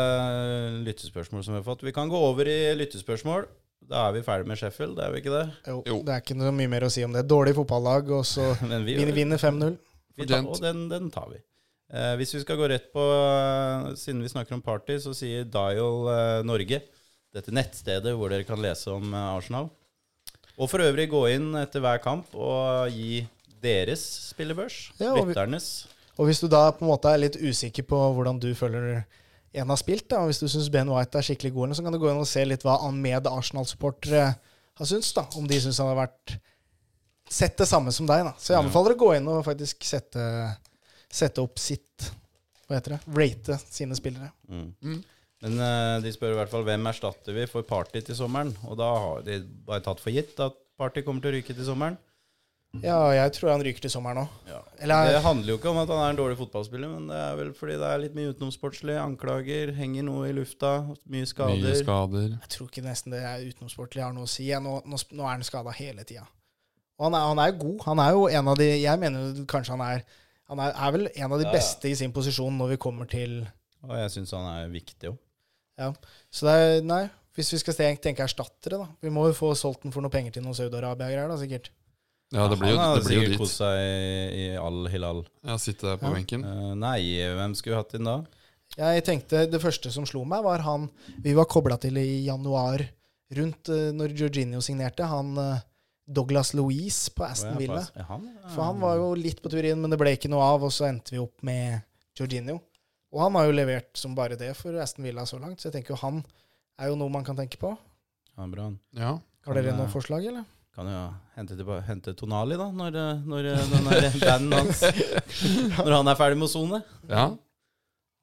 [SPEAKER 3] eh, lyttespørsmål som vi har fått. Vi kan gå over i lyttespørsmål. Da er vi ferdig med Sheffield, er vi ikke det?
[SPEAKER 2] Jo,
[SPEAKER 1] Jo.
[SPEAKER 2] Det er ikke noe mye mer å si om det. Dårlig fotballag, og så
[SPEAKER 3] Men vi,
[SPEAKER 2] vinner, vinner 5-0.
[SPEAKER 3] vi tar,
[SPEAKER 1] Fortjent.
[SPEAKER 3] og den, den tar vi. Eh, hvis vi skal gå rett på, eh, siden vi snakker om party, så sier Dial eh, Norge, dette nettstedet hvor dere kan lese om eh, Arsenal. Og for øvrig gå inn etter hver kamp og gi deres spillebørs.
[SPEAKER 2] Ja, og vi-
[SPEAKER 3] lytternes.
[SPEAKER 2] Og hvis du da på en måte er litt usikker på hvordan du føler en har spilt, da, og hvis du syns Ben White er skikkelig god, eller noe, så kan du gå inn og se litt hva an- med Arsenal-supportere har syntes. da, Om de syns han har vært sett det samme som deg. da. Så jeg anbefaler å gå inn og faktisk sette, sette opp sitt Hva heter det? Rate sine spillere.
[SPEAKER 3] Mm.
[SPEAKER 1] Mm.
[SPEAKER 3] Men eh, de spør i hvert fall hvem erstatter vi for party til sommeren. Og da har de bare tatt for gitt at party kommer til å ryke til sommeren.
[SPEAKER 2] Ja, og jeg tror han ryker til sommeren òg. Eller-
[SPEAKER 3] Det handler jo ikke om at han er en dårlig fotballspiller, men det er vel fordi det er litt mye utenomsportslig. Anklager, henger noe i lufta, mye skader.
[SPEAKER 1] Mye skader.
[SPEAKER 2] Jeg tror ikke nesten det er utenomsportlig har noe å si. Jeg, nå, nå, sp- nå er han skada hele tida. Og han er, han er god. Han er jo en av de Jeg mener jo kanskje han er Han er, er vel en av de
[SPEAKER 3] Ja, ja.
[SPEAKER 2] beste i sin posisjon når vi kommer til
[SPEAKER 3] Og jeg syns han er viktig òg.
[SPEAKER 2] Ja. Så det er Nei. Hvis vi skal tenke, tenke erstattere, da. Vi må jo få solgt den for noe penger til noen Saudi-Arabia-greier, da, sikkert.
[SPEAKER 1] Ja, det blir jo,
[SPEAKER 3] han
[SPEAKER 1] det
[SPEAKER 3] har
[SPEAKER 1] blir jo
[SPEAKER 3] sikkert
[SPEAKER 1] dit.
[SPEAKER 3] kost seg i, i Al Hilal.
[SPEAKER 1] Ja, sitte der på
[SPEAKER 2] Ja.
[SPEAKER 1] benken.
[SPEAKER 3] Eh, nei, hvem skulle vi hatt inn da?
[SPEAKER 2] Jeg tenkte Det første som slo meg, var han vi var kobla til i januar, rundt eh, når Jorginho signerte. Han eh, Douglas Louise på Aston
[SPEAKER 3] Å, ja,
[SPEAKER 2] Villa.
[SPEAKER 3] pass. Ja, han, er-
[SPEAKER 2] For han var jo litt på tur inn, men det ble ikke noe av, og så endte vi opp med Jorginho. Og han har jo levert som bare det for Aston Villa så langt, så jeg tenker jo han er jo noe man kan tenke på.
[SPEAKER 3] han er bra, han.
[SPEAKER 1] Ja.
[SPEAKER 2] Har dere
[SPEAKER 3] Kan, eh,
[SPEAKER 2] noen forslag, eller?
[SPEAKER 3] Kan jo hente, tilba- hente Tonali, da, når, eh, når eh, den
[SPEAKER 1] (laughs)
[SPEAKER 3] der banden hans Når han er ferdig med å sone. Mm.
[SPEAKER 1] ja.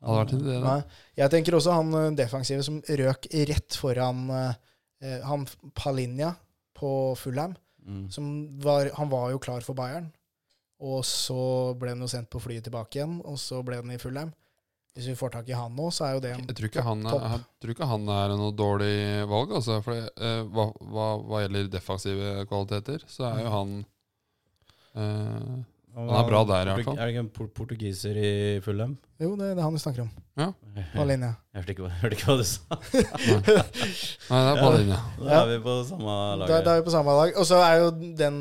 [SPEAKER 1] Hadde vært en idé, da.
[SPEAKER 2] Nei. Jeg tenker også han eh, defensive som røk rett foran eh, eh, han Palinja på Fulham.
[SPEAKER 3] Mm.
[SPEAKER 2] Som var, han var jo klar for Bayern, og så ble han jo sendt på flyet tilbake igjen, og så ble han i Fulham. Hvis vi får tak i han nå, så er jo det en
[SPEAKER 1] Jeg tror ikke han,
[SPEAKER 2] Topp.
[SPEAKER 1] jeg tror ikke han er noe dårlig valg, altså. For det, eh, hva, hva, hva gjelder defensive kvaliteter, så er jo han eh,
[SPEAKER 3] Han
[SPEAKER 1] er bra der, i hvert fall.
[SPEAKER 3] Er det ikke en por- portugiser i Fulham?
[SPEAKER 1] (laughs)
[SPEAKER 2] Jo, det er det han vi snakker om.
[SPEAKER 3] Jeg
[SPEAKER 2] Palinja.
[SPEAKER 3] hørte ikke, hva- (laughs) hørte ikke hva du sa.
[SPEAKER 1] Nei, det er på linja.
[SPEAKER 3] Da
[SPEAKER 2] Ja.
[SPEAKER 3] er vi på samme lag.
[SPEAKER 2] Da,
[SPEAKER 3] her.
[SPEAKER 2] da er vi på samme lag. Og så er jo den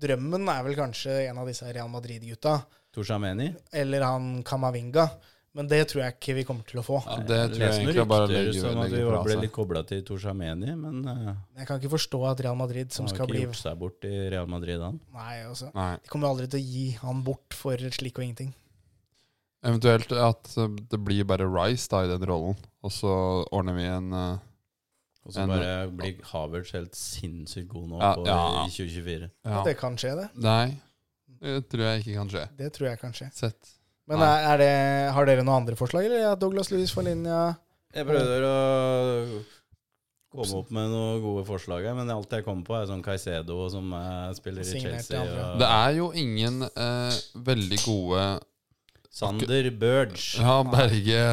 [SPEAKER 2] drømmen er vel kanskje en av disse Real Madrid-gutta.
[SPEAKER 3] Tushameni.
[SPEAKER 2] Eller han Kamavinga. Men det tror jeg ikke vi kommer til å få.
[SPEAKER 1] Ja, det tror jeg
[SPEAKER 3] Leser noen
[SPEAKER 1] egentlig er bare å
[SPEAKER 3] rykter
[SPEAKER 1] legge,
[SPEAKER 3] som at vi
[SPEAKER 1] legge
[SPEAKER 3] ble
[SPEAKER 1] fra
[SPEAKER 3] litt
[SPEAKER 1] seg.
[SPEAKER 3] kobla til Torshameni, men eh,
[SPEAKER 2] Jeg kan ikke forstå at Real Madrid som
[SPEAKER 3] han har
[SPEAKER 2] skal
[SPEAKER 3] ikke
[SPEAKER 2] bli
[SPEAKER 3] gjort seg bort i Real Madrid, han.
[SPEAKER 2] Nei, altså.
[SPEAKER 1] Nei.
[SPEAKER 2] De kommer aldri til å gi han bort for slik og ingenting.
[SPEAKER 1] Eventuelt at eh, det blir bare Rice da i den rollen, og så ordner vi en eh,
[SPEAKER 3] Og så
[SPEAKER 1] En-
[SPEAKER 3] bare eh, blir Havertz helt sinnssykt god nå
[SPEAKER 1] Ja,
[SPEAKER 3] på,
[SPEAKER 1] ja.
[SPEAKER 3] i 2024.
[SPEAKER 1] ja.
[SPEAKER 2] Det kan skje, det.
[SPEAKER 1] Nei, det tror jeg ikke kan skje.
[SPEAKER 2] Det tror jeg kan skje.
[SPEAKER 1] Sett.
[SPEAKER 2] Men
[SPEAKER 1] Nei.
[SPEAKER 2] er, er det, har dere noen andre forslag, eller? Ja, Douglas Lewis for linja.
[SPEAKER 3] Jeg prøver å komme opp med noen gode forslag her, men alt jeg kommer på, er sånn Caicedo som eh, spiller i
[SPEAKER 2] Signert i
[SPEAKER 3] Chelsea.
[SPEAKER 2] andre.
[SPEAKER 1] Det
[SPEAKER 3] Og
[SPEAKER 1] er jo ingen eh, veldig gode
[SPEAKER 3] Sander Burge.
[SPEAKER 1] Ja, Berge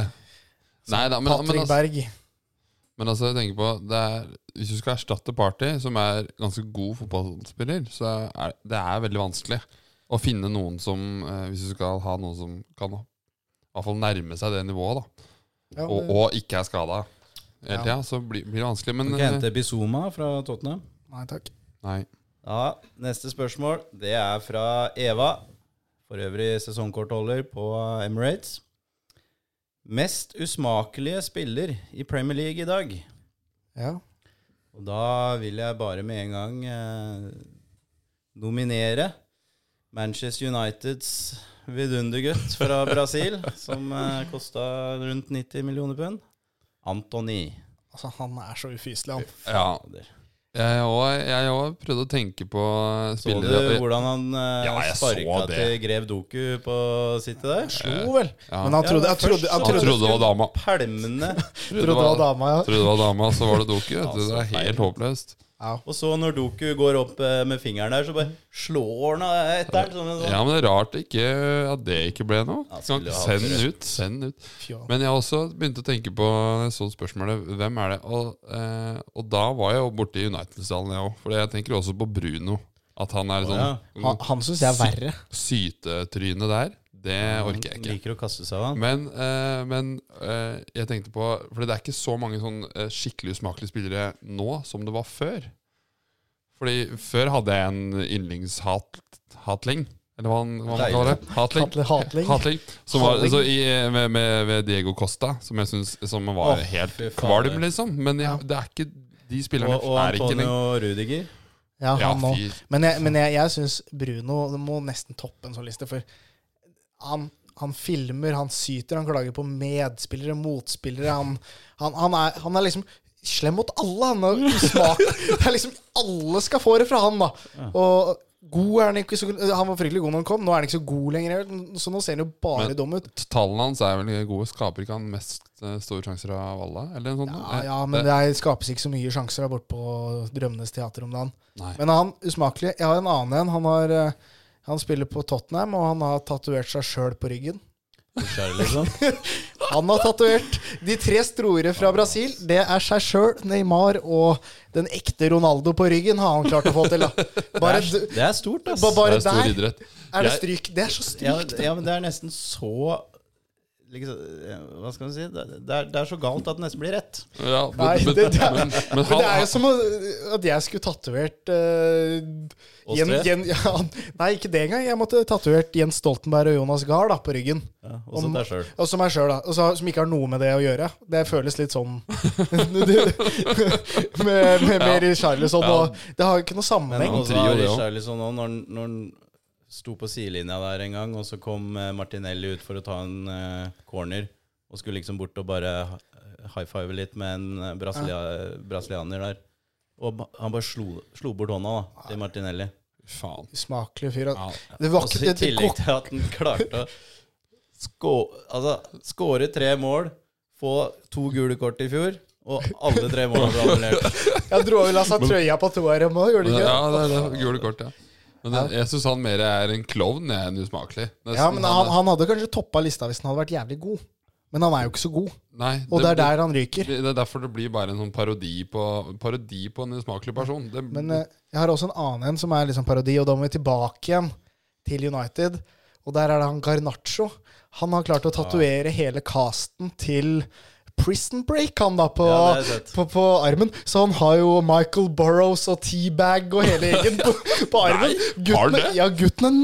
[SPEAKER 1] Nei da, men, men,
[SPEAKER 2] Patrick
[SPEAKER 1] altså,
[SPEAKER 2] Berg.
[SPEAKER 1] men altså, jeg tenker på det er, Hvis du skal erstatte Party, som er ganske god fotballspiller, så er det er veldig vanskelig å finne noen som eh, Hvis du skal ha noen som kan i hvert fall nærme seg det nivået, da,
[SPEAKER 2] Ja,
[SPEAKER 1] og,
[SPEAKER 2] det-
[SPEAKER 1] og ikke er skada hele
[SPEAKER 2] Ja.
[SPEAKER 1] tida, så blir, blir det vanskelig.
[SPEAKER 3] Du
[SPEAKER 1] Men
[SPEAKER 3] kan
[SPEAKER 1] eh,
[SPEAKER 3] hente Bizuma fra Tottenham.
[SPEAKER 2] Nei takk.
[SPEAKER 1] nei.
[SPEAKER 3] Ja, Neste spørsmål det er fra Eva, for øvrig sesongkortholder på Emirates. Mest usmakelige spiller i Premier League i dag?
[SPEAKER 2] Ja.
[SPEAKER 3] Og da vil jeg bare med en gang eh, nominere Manchester Uniteds vidundergutt
[SPEAKER 1] (laughs)
[SPEAKER 3] fra Brasil, som eh, kosta rundt 90 millioner pund. Antony.
[SPEAKER 2] Altså, han er så ufyselig, han.
[SPEAKER 1] Ja,
[SPEAKER 3] Fader.
[SPEAKER 1] jeg òg jeg òg prøvde å tenke på
[SPEAKER 3] Så du
[SPEAKER 1] spillere
[SPEAKER 3] hvordan han eh,
[SPEAKER 1] Ja, jeg så
[SPEAKER 3] sparka
[SPEAKER 1] det.
[SPEAKER 3] til Grev Doku på sitt der?
[SPEAKER 2] Slo vel.
[SPEAKER 1] Eh, ja.
[SPEAKER 2] Men han
[SPEAKER 3] Ja,
[SPEAKER 2] trodde,
[SPEAKER 3] men
[SPEAKER 2] han trodde,
[SPEAKER 3] først
[SPEAKER 2] han
[SPEAKER 3] så-
[SPEAKER 1] Han
[SPEAKER 2] trodde,
[SPEAKER 1] trodde det var dama.
[SPEAKER 3] Pælmende.
[SPEAKER 1] Trodde
[SPEAKER 2] trodde det var dama, ja.
[SPEAKER 1] Trodde det var dama, så var det Doku. vet du.
[SPEAKER 3] Altså,
[SPEAKER 1] det er
[SPEAKER 3] feil.
[SPEAKER 1] helt håpløst.
[SPEAKER 2] ja.
[SPEAKER 3] Og så når Doku går opp eh, med fingeren der, så bare slår han av etter. Sånn, en sånn.
[SPEAKER 1] Ja, men det er rart ikke, at det ikke ble noe.
[SPEAKER 3] Ja,
[SPEAKER 1] Kan
[SPEAKER 3] skulle
[SPEAKER 1] ikke
[SPEAKER 3] ha
[SPEAKER 1] send
[SPEAKER 3] hatt
[SPEAKER 1] den
[SPEAKER 3] rødt.
[SPEAKER 1] ut. Send den ut.
[SPEAKER 2] Fy, han.
[SPEAKER 1] Men jeg har også begynte å tenke på sånn spørsmålet hvem er det? Og, eh, og da var jeg jo borte i United-salen, jeg òg. For jeg tenker også på Bruno. At han er sånn
[SPEAKER 2] Han, han syns jeg er verre.
[SPEAKER 1] sytetryne der. Det orker jeg ikke.
[SPEAKER 3] Liker å kaste seg av han.
[SPEAKER 1] Men, eh, men eh, jeg tenkte på For det er ikke så mange sånn eh, skikkelig usmakelige spillere nå som det var før. Fordi før hadde jeg en yndlingshatling. Eller hva han- hva man
[SPEAKER 3] Deilig.
[SPEAKER 1] kaller det. Hatling.
[SPEAKER 2] Hatle- Hatling.
[SPEAKER 1] Hatling. Som var,
[SPEAKER 2] Hatling.
[SPEAKER 1] så i, eh, med, med, med Diego Costa, som jeg syns som var
[SPEAKER 3] Åh,
[SPEAKER 1] helt
[SPEAKER 3] fy faen.
[SPEAKER 1] kvalm, liksom. Men jeg, det er ikke de
[SPEAKER 3] Og,
[SPEAKER 1] spillerne
[SPEAKER 3] og
[SPEAKER 1] er ikke
[SPEAKER 3] Antonio
[SPEAKER 1] lenger
[SPEAKER 3] Rudiger.
[SPEAKER 2] Ja,
[SPEAKER 1] Ja,
[SPEAKER 2] han nå.
[SPEAKER 1] fy.
[SPEAKER 2] Men jeg, men jeg, jeg syns Bruno må nesten toppe en sånn liste, for han, han filmer, han syter, han klager på medspillere, motspillere. Han, han, han, er, han er liksom slem mot alle, han. Og
[SPEAKER 1] (laughs)
[SPEAKER 2] usmak. Det er liksom alle skal få det fra han, da. Og god er han ikke så Han var fryktelig god når han kom, nå er han ikke så god lenger. Så nå ser han jo bare
[SPEAKER 1] Men-
[SPEAKER 2] dum ut.
[SPEAKER 1] Tallene hans er vel gode. Skaper ikke han mest eh, store sjanser av alle? Eller noe sånt?
[SPEAKER 2] Ja, ja, men det er, skapes ikke så mye sjanser der borte på Drømmenes teater om dagen.
[SPEAKER 1] Nei.
[SPEAKER 2] Men han usmakelig Jeg har en annen en. Han, har, eh, han spiller på Tottenham, og han har tatovert seg sjøl på ryggen.
[SPEAKER 3] Skjær, liksom.
[SPEAKER 2] Han har tatovert de tre store fra Brasil. Det er seg sjøl, Neymar og den ekte Ronaldo på ryggen har han klart å få til. Da. Bare, d-
[SPEAKER 3] Det er stort, ass.
[SPEAKER 2] ba-
[SPEAKER 1] det
[SPEAKER 2] bare
[SPEAKER 1] er stor
[SPEAKER 2] der
[SPEAKER 1] idrett.
[SPEAKER 2] er det
[SPEAKER 1] Jeg-
[SPEAKER 2] stryk. Det er så
[SPEAKER 3] Ja,
[SPEAKER 2] stryk.
[SPEAKER 3] ja, men det er nesten så liksom, Hva skal man si? Det det er, det er så galt at det nesten blir rett.
[SPEAKER 1] Ja, men,
[SPEAKER 2] Nei,
[SPEAKER 1] men,
[SPEAKER 2] det, det, er,
[SPEAKER 1] men, men
[SPEAKER 2] men
[SPEAKER 1] han,
[SPEAKER 2] det er jo som å- at jeg skulle tatovert eh,
[SPEAKER 3] Oss
[SPEAKER 2] Jen,
[SPEAKER 3] tre?
[SPEAKER 2] Jen, ja, Nei, ikke det engang. Jeg måtte tatovert Jens Stoltenberg og Jonas Gahr da, på ryggen.
[SPEAKER 3] Ja, også
[SPEAKER 2] Om-
[SPEAKER 3] deg sjøl.
[SPEAKER 2] Og som meg sjøl, da. Og så, som ikke har noe med det å gjøre. Det føles litt sånn (laughs) Med, med, med Mary Charlesson og Det har jo ikke noe
[SPEAKER 3] Men
[SPEAKER 2] sammenheng.
[SPEAKER 1] han
[SPEAKER 3] sånn også
[SPEAKER 1] trio, det også.
[SPEAKER 3] Richarlison òg, når, han- når han sto på sidelinja der en gang, og så kom eh, Martinelli ut for å ta en eh, corner, og skulle liksom bort og bare high five litt med en eh, brasilia, brasilianer der. Og ba- han bare slo, slo bort hånda da, til Martinelli.
[SPEAKER 1] Faen.
[SPEAKER 2] Usmakelig fyr.
[SPEAKER 1] Ja.
[SPEAKER 2] Det var
[SPEAKER 3] Og
[SPEAKER 2] ikke
[SPEAKER 3] så Altså, i
[SPEAKER 2] det, det,
[SPEAKER 3] tillegg til at han klarte å skå, altså, skåre tre mål, få to gule kort i fjor, og alle tre målene ble annullert.
[SPEAKER 2] Jeg dro vel av seg trøya på to her hjemme òg, gjorde
[SPEAKER 1] Men,
[SPEAKER 2] du ikke?
[SPEAKER 1] ja, det er det. Gule kort, ja. Men jeg, jeg syns han mer er en klovn jeg, enn usmakelig. Nesten.
[SPEAKER 2] Ja, men
[SPEAKER 1] Han
[SPEAKER 2] han,
[SPEAKER 1] er-
[SPEAKER 2] han hadde kanskje toppa lista hvis han hadde vært jævlig god. Men han er jo ikke så god,
[SPEAKER 1] nei,
[SPEAKER 2] og det er
[SPEAKER 1] blir-
[SPEAKER 2] der han ryker.
[SPEAKER 1] Det er derfor det blir bare en sånn parodi på, parodi på en usmakelig person. Det,
[SPEAKER 2] Men eh, jeg har også en annen en som er liksom parodi, og da må vi tilbake igjen til United. Og der er det han Garnaccio. Han har klart å tatovere hele casten til Prison Break, han da, på,
[SPEAKER 3] Ja, det har jeg sett.
[SPEAKER 2] på, på armen. Så han har jo Michael Burrows og Teabag og hele gjengen på, på
[SPEAKER 1] har
[SPEAKER 2] armen.
[SPEAKER 1] han
[SPEAKER 2] Gutten,
[SPEAKER 1] det?
[SPEAKER 2] ja, gutten er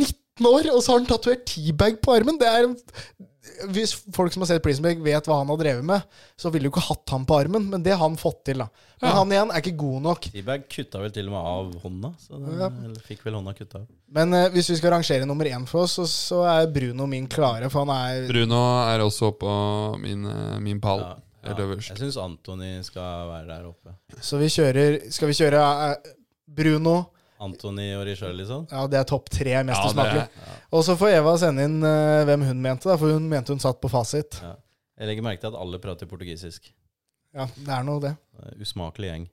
[SPEAKER 2] 19 år, og så har han tatovert Teabag på armen. Det er en Hvis folk som har sett Prismeg, vet hva han har drevet med, så ville du ikke hatt han på armen, men det har han fått til. da. Men han igjen er ikke god nok.
[SPEAKER 3] Seabag kutta vel til og med av hånda. Så den,
[SPEAKER 2] Ja.
[SPEAKER 3] Eller fikk vel hånda kutta av.
[SPEAKER 2] Men eh, hvis vi skal rangere nummer én for oss, så, så er Bruno min klare, for han er
[SPEAKER 1] Bruno er også på min, eh, min pall.
[SPEAKER 3] Ja,
[SPEAKER 1] Helt
[SPEAKER 3] ja.
[SPEAKER 1] øverst.
[SPEAKER 3] Jeg syns Antony skal være der oppe.
[SPEAKER 2] Så vi kjører Skal vi kjøre eh, Bruno?
[SPEAKER 3] Antony og Richarlison.
[SPEAKER 2] Ja, det er topp tre mest
[SPEAKER 1] Ja, det
[SPEAKER 2] usmakelig.
[SPEAKER 1] er-
[SPEAKER 2] Og så får Eva sende inn eh, hvem hun mente, da, for hun mente hun satt på fasit.
[SPEAKER 3] Ja. Jeg legger merke til at alle prater portugisisk.
[SPEAKER 2] Ja, det er noe det.
[SPEAKER 3] Eh,
[SPEAKER 1] (laughs)
[SPEAKER 3] Usmakelig gjeng.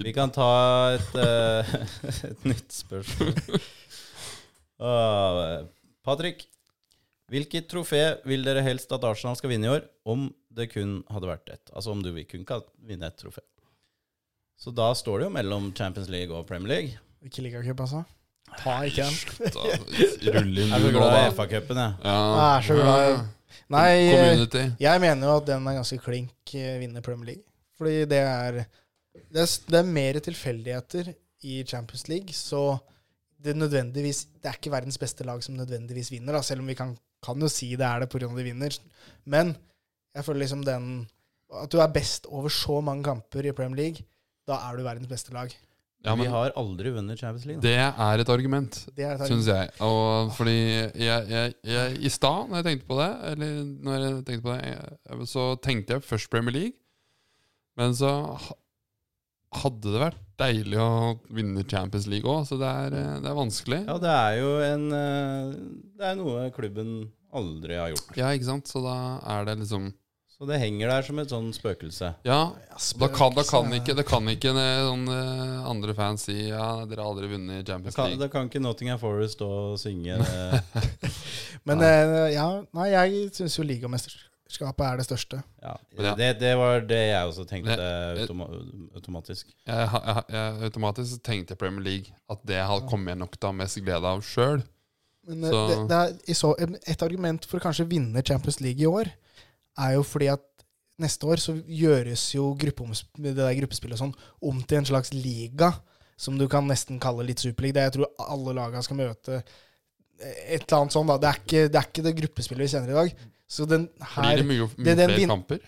[SPEAKER 3] Vi kan ta et, eh, (laughs) et nytt spørsmål. Ah, Patrick, hvilket trofé vil dere helst at Arsenal skal vinne i år, om det kun hadde vært ett? Altså om du vil- kun kan vinne ett trofé. Så da står det jo mellom Champions League og Premier League.
[SPEAKER 2] Ikke ligacup, altså. Ta ikke den.
[SPEAKER 1] Slutt, da. Rull inn
[SPEAKER 3] Jeg er så
[SPEAKER 1] du nå,
[SPEAKER 3] glad
[SPEAKER 1] da.
[SPEAKER 3] i FA-cupen, jeg.
[SPEAKER 1] Ja.
[SPEAKER 2] Jeg er så glad i- Nei, eh,
[SPEAKER 1] Community.
[SPEAKER 2] jeg mener jo at den er ganske klink eh, vinner Premier League. Fordi det er Det er, s- det er mer tilfeldigheter i Champions League, så det nødvendigvis Det er ikke verdens beste lag som nødvendigvis vinner, da, selv om vi kan, kan jo si det er det pga. de vinner. Men jeg føler liksom den At du er best over så mange kamper i Premier League, da er du verdens beste lag.
[SPEAKER 1] Ja,
[SPEAKER 3] Vi
[SPEAKER 1] men
[SPEAKER 3] har aldri vunnet Champions League. Da.
[SPEAKER 1] det er et argument.
[SPEAKER 2] Det er et argument.
[SPEAKER 1] Syns jeg. Og fordi jeg, jeg, jeg I stad, når jeg tenkte på det, eller når jeg tenkte på det, jeg, så tenkte jeg først Premier League. Men så ha- hadde det vært deilig å vinne Champions League òg, så det er, eh, det er vanskelig.
[SPEAKER 3] Ja, det er jo en eh, Det er noe klubben aldri har gjort.
[SPEAKER 1] Ja, ikke sant? Så da er det liksom
[SPEAKER 3] Så det henger der som et sånn spøkelse.
[SPEAKER 1] Ja, da kan, da kan
[SPEAKER 2] Spøkelse.
[SPEAKER 1] ikke, det kan ikke eh, sånn, eh, andre fans si ja, dere har aldri vunnet
[SPEAKER 3] Da
[SPEAKER 1] Champions
[SPEAKER 3] kan,
[SPEAKER 1] League.
[SPEAKER 3] da kan ikke Nottingham Forest stå og synge eh,
[SPEAKER 1] (laughs)
[SPEAKER 3] det.
[SPEAKER 2] Men eh, ja, nei, jeg syns jo ligamesterskapet er det største.
[SPEAKER 3] Ja.
[SPEAKER 1] Men ja.
[SPEAKER 3] Det, det var det jeg også tenkte
[SPEAKER 1] Det-
[SPEAKER 3] automa automatisk.
[SPEAKER 1] Jeg, ha- jeg, jeg, automatisk så tenkte jeg Premier League at det hadde kommet jeg nok til å ha mest glede av sjøl.
[SPEAKER 2] Men eh,
[SPEAKER 1] Så-
[SPEAKER 2] det, det er i så, et argument for å kanskje vinne Champions League i år, er jo fordi at neste år så gjøres jo gruppeoms- det der gruppespillet og sånn om til en slags liga, som du kan nesten kalle litt superliga. Der jeg tror alle laga skal møte et eller annet sånn, da. Det er ikke det, er ikke det gruppespillet vi kjenner i dag. Så den
[SPEAKER 1] Blir
[SPEAKER 2] her
[SPEAKER 1] det mye, mye
[SPEAKER 2] det- den
[SPEAKER 1] flere
[SPEAKER 2] vin-
[SPEAKER 1] kamper?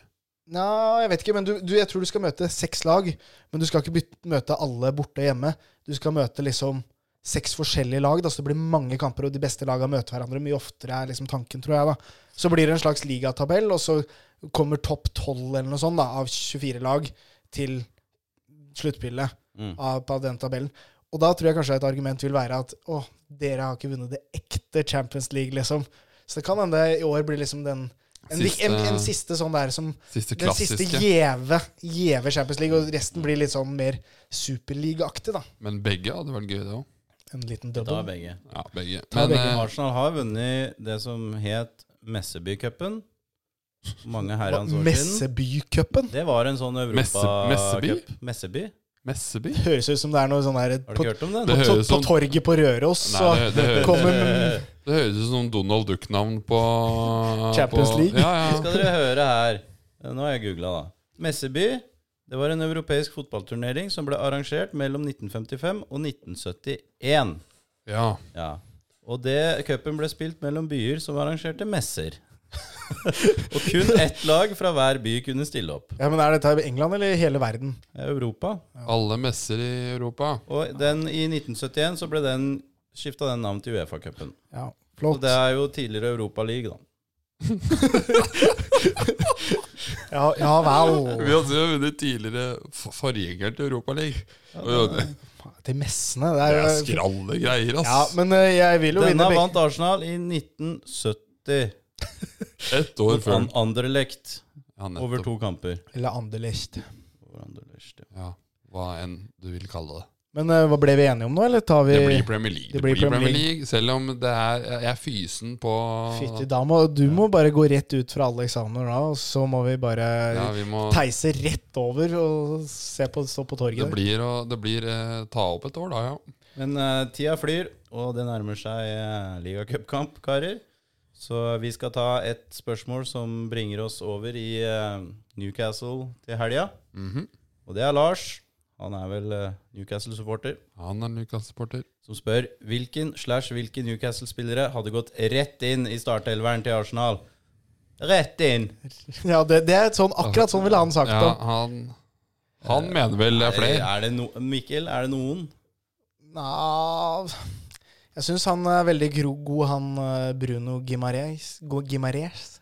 [SPEAKER 2] Nei, jeg vet ikke, men du, du, jeg tror du skal møte seks lag. Men du skal ikke byt- møte alle borte og hjemme. Du skal møte liksom seks forskjellige lag. Da, så det blir mange kamper, og de beste lagene møter hverandre mye oftere. er liksom tanken, tror jeg da. Så blir det en slags ligatabell, og så kommer topp tolv eller noe sånt da, av 24 lag til sluttspillet
[SPEAKER 3] Mm.
[SPEAKER 2] av, på den tabellen. Og da tror jeg kanskje et argument vil være at å, dere har ikke vunnet det ekte Champions League, liksom. Så det kan hende i år blir liksom den en, vik- en, en siste sånn der som
[SPEAKER 1] Siste
[SPEAKER 2] den siste
[SPEAKER 1] klassiske.
[SPEAKER 2] gjeve gjeve Champions League, og resten blir litt sånn mer Superliga-aktig, da.
[SPEAKER 1] Men begge hadde vært gøy, det òg.
[SPEAKER 2] En liten
[SPEAKER 3] Da er
[SPEAKER 2] double.
[SPEAKER 3] begge.
[SPEAKER 1] Ja, begge.
[SPEAKER 2] Ta
[SPEAKER 1] Men
[SPEAKER 2] begge.
[SPEAKER 1] eh,
[SPEAKER 3] Arsenal har vunnet det som het Messebycupen. Mange herrens år siden.
[SPEAKER 2] Messebycupen.
[SPEAKER 3] Det var en sånn
[SPEAKER 1] Messe- Messeby?
[SPEAKER 3] europacup. Messeby?
[SPEAKER 1] Messeby?
[SPEAKER 2] Høres ut som det er noe sånn der
[SPEAKER 3] Har du
[SPEAKER 2] på,
[SPEAKER 3] ikke hørt om den?
[SPEAKER 1] Det
[SPEAKER 2] på,
[SPEAKER 1] høres
[SPEAKER 2] på
[SPEAKER 1] som-
[SPEAKER 2] torget på Røros, så
[SPEAKER 1] Nei, det, det, høres,
[SPEAKER 2] kommer
[SPEAKER 1] det høres ut som Donald Duck-navn
[SPEAKER 2] (laughs)
[SPEAKER 1] på
[SPEAKER 2] Champions
[SPEAKER 1] på,
[SPEAKER 2] League.
[SPEAKER 1] Ja,
[SPEAKER 3] Nå
[SPEAKER 1] ja.
[SPEAKER 3] skal dere høre her. Nå har jeg googla, da. Messeby det var en europeisk fotballturnering som ble arrangert mellom 1955 og 1971.
[SPEAKER 1] ja.
[SPEAKER 3] Ja. Og det cupen ble spilt mellom byer som arrangerte messer. (laughs) og kun ett lag fra hver by kunne stille opp.
[SPEAKER 2] Ja, men Er dette i England eller i hele verden?
[SPEAKER 3] Europa.
[SPEAKER 1] Alle messer i Europa.
[SPEAKER 3] Og den, i 1971 så ble den skifta den navn til Uefa-cupen.
[SPEAKER 2] Ja,
[SPEAKER 3] Og
[SPEAKER 2] flott.
[SPEAKER 3] det er jo tidligere Europa League, da.
[SPEAKER 2] Ja, ja
[SPEAKER 1] Vi
[SPEAKER 2] vel.
[SPEAKER 1] hadde jo vunnet tidligere for- forgjengeren til Europaligaen. Og det-
[SPEAKER 2] Til messene. Det
[SPEAKER 1] (laughs) Det
[SPEAKER 2] er
[SPEAKER 1] er
[SPEAKER 2] jo
[SPEAKER 1] skralle greier, ass.
[SPEAKER 2] Ja, men eh, jeg vil jo vinne
[SPEAKER 3] Denne
[SPEAKER 2] begge.
[SPEAKER 3] vant Arsenal i 1970
[SPEAKER 1] Ett år
[SPEAKER 3] mot
[SPEAKER 1] før.
[SPEAKER 3] An- Anderlecht
[SPEAKER 1] Ja, nettopp.
[SPEAKER 3] over to kamper.
[SPEAKER 2] Eller Anderlecht.
[SPEAKER 3] Over Anderlecht, ja.
[SPEAKER 1] Ja, hva enn du vil kalle det.
[SPEAKER 2] Men eh, hva ble vi enige om nå, eller tar vi
[SPEAKER 1] Det blir Premier League.
[SPEAKER 2] det blir Premier
[SPEAKER 1] Selv om det er Jeg er fysen på
[SPEAKER 2] Fytti, da må du må bare gå rett ut fra alle eksamener da, og så må vi bare
[SPEAKER 1] Ja, vi må
[SPEAKER 2] peise rett over og se på, stå på
[SPEAKER 1] Det
[SPEAKER 2] torget.
[SPEAKER 1] blir å det blir, eh, ta opp et år, da, ja.
[SPEAKER 3] Men eh, tida flyr, og det nærmer seg uh, ligacupkamp, karer. Så vi skal ta et spørsmål som bringer oss over i eh, Newcastle til helga.
[SPEAKER 1] Mhm.
[SPEAKER 3] Og det er Lars. Han er vel eh, Newcastle-supporter.
[SPEAKER 1] Han er Newcastle-supporter.
[SPEAKER 3] Som spør hvilken slash hvilke Newcastle-spillere hadde gått rett inn i startelveren til Arsenal. Rett inn!
[SPEAKER 2] Ja, det, det er et sånn, akkurat sånn ville han sagt
[SPEAKER 1] Ja,
[SPEAKER 2] det.
[SPEAKER 1] han Han mener vel det er flere.
[SPEAKER 3] Er det no Mikkel, er det noen?
[SPEAKER 2] Nja Jeg syns han er veldig gro god, han eh, Bruno Gimares,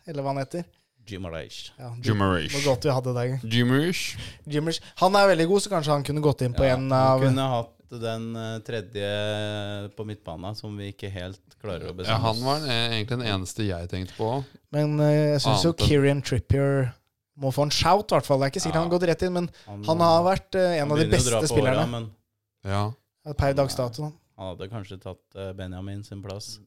[SPEAKER 2] eller hva han heter.
[SPEAKER 3] Gimaraish.
[SPEAKER 2] Ja,
[SPEAKER 1] Gimares.
[SPEAKER 2] Hvor godt vi hadde det.
[SPEAKER 1] Jimmers.
[SPEAKER 2] Gimmers. Han er veldig god, så kanskje han kunne gått inn på en av
[SPEAKER 3] Vi kunne hatt den eh, tredje på midtbana som vi ikke helt klarer å
[SPEAKER 1] Ja,
[SPEAKER 3] bestemme
[SPEAKER 1] han var den- egentlig den eneste jeg tenkte på.
[SPEAKER 2] Men eh, jeg syns jo
[SPEAKER 1] Annet enn-
[SPEAKER 2] Kieran Trippier må få en shout, i hvert fall. Det er ikke sikkert han har gått rett inn, men han har vært eh, en av de
[SPEAKER 3] begynner å dra
[SPEAKER 2] beste
[SPEAKER 3] på
[SPEAKER 2] spillerne
[SPEAKER 3] åra, men
[SPEAKER 1] Ja.
[SPEAKER 2] per dags dato.
[SPEAKER 3] han hadde kanskje tatt eh, Benjamin sin plass.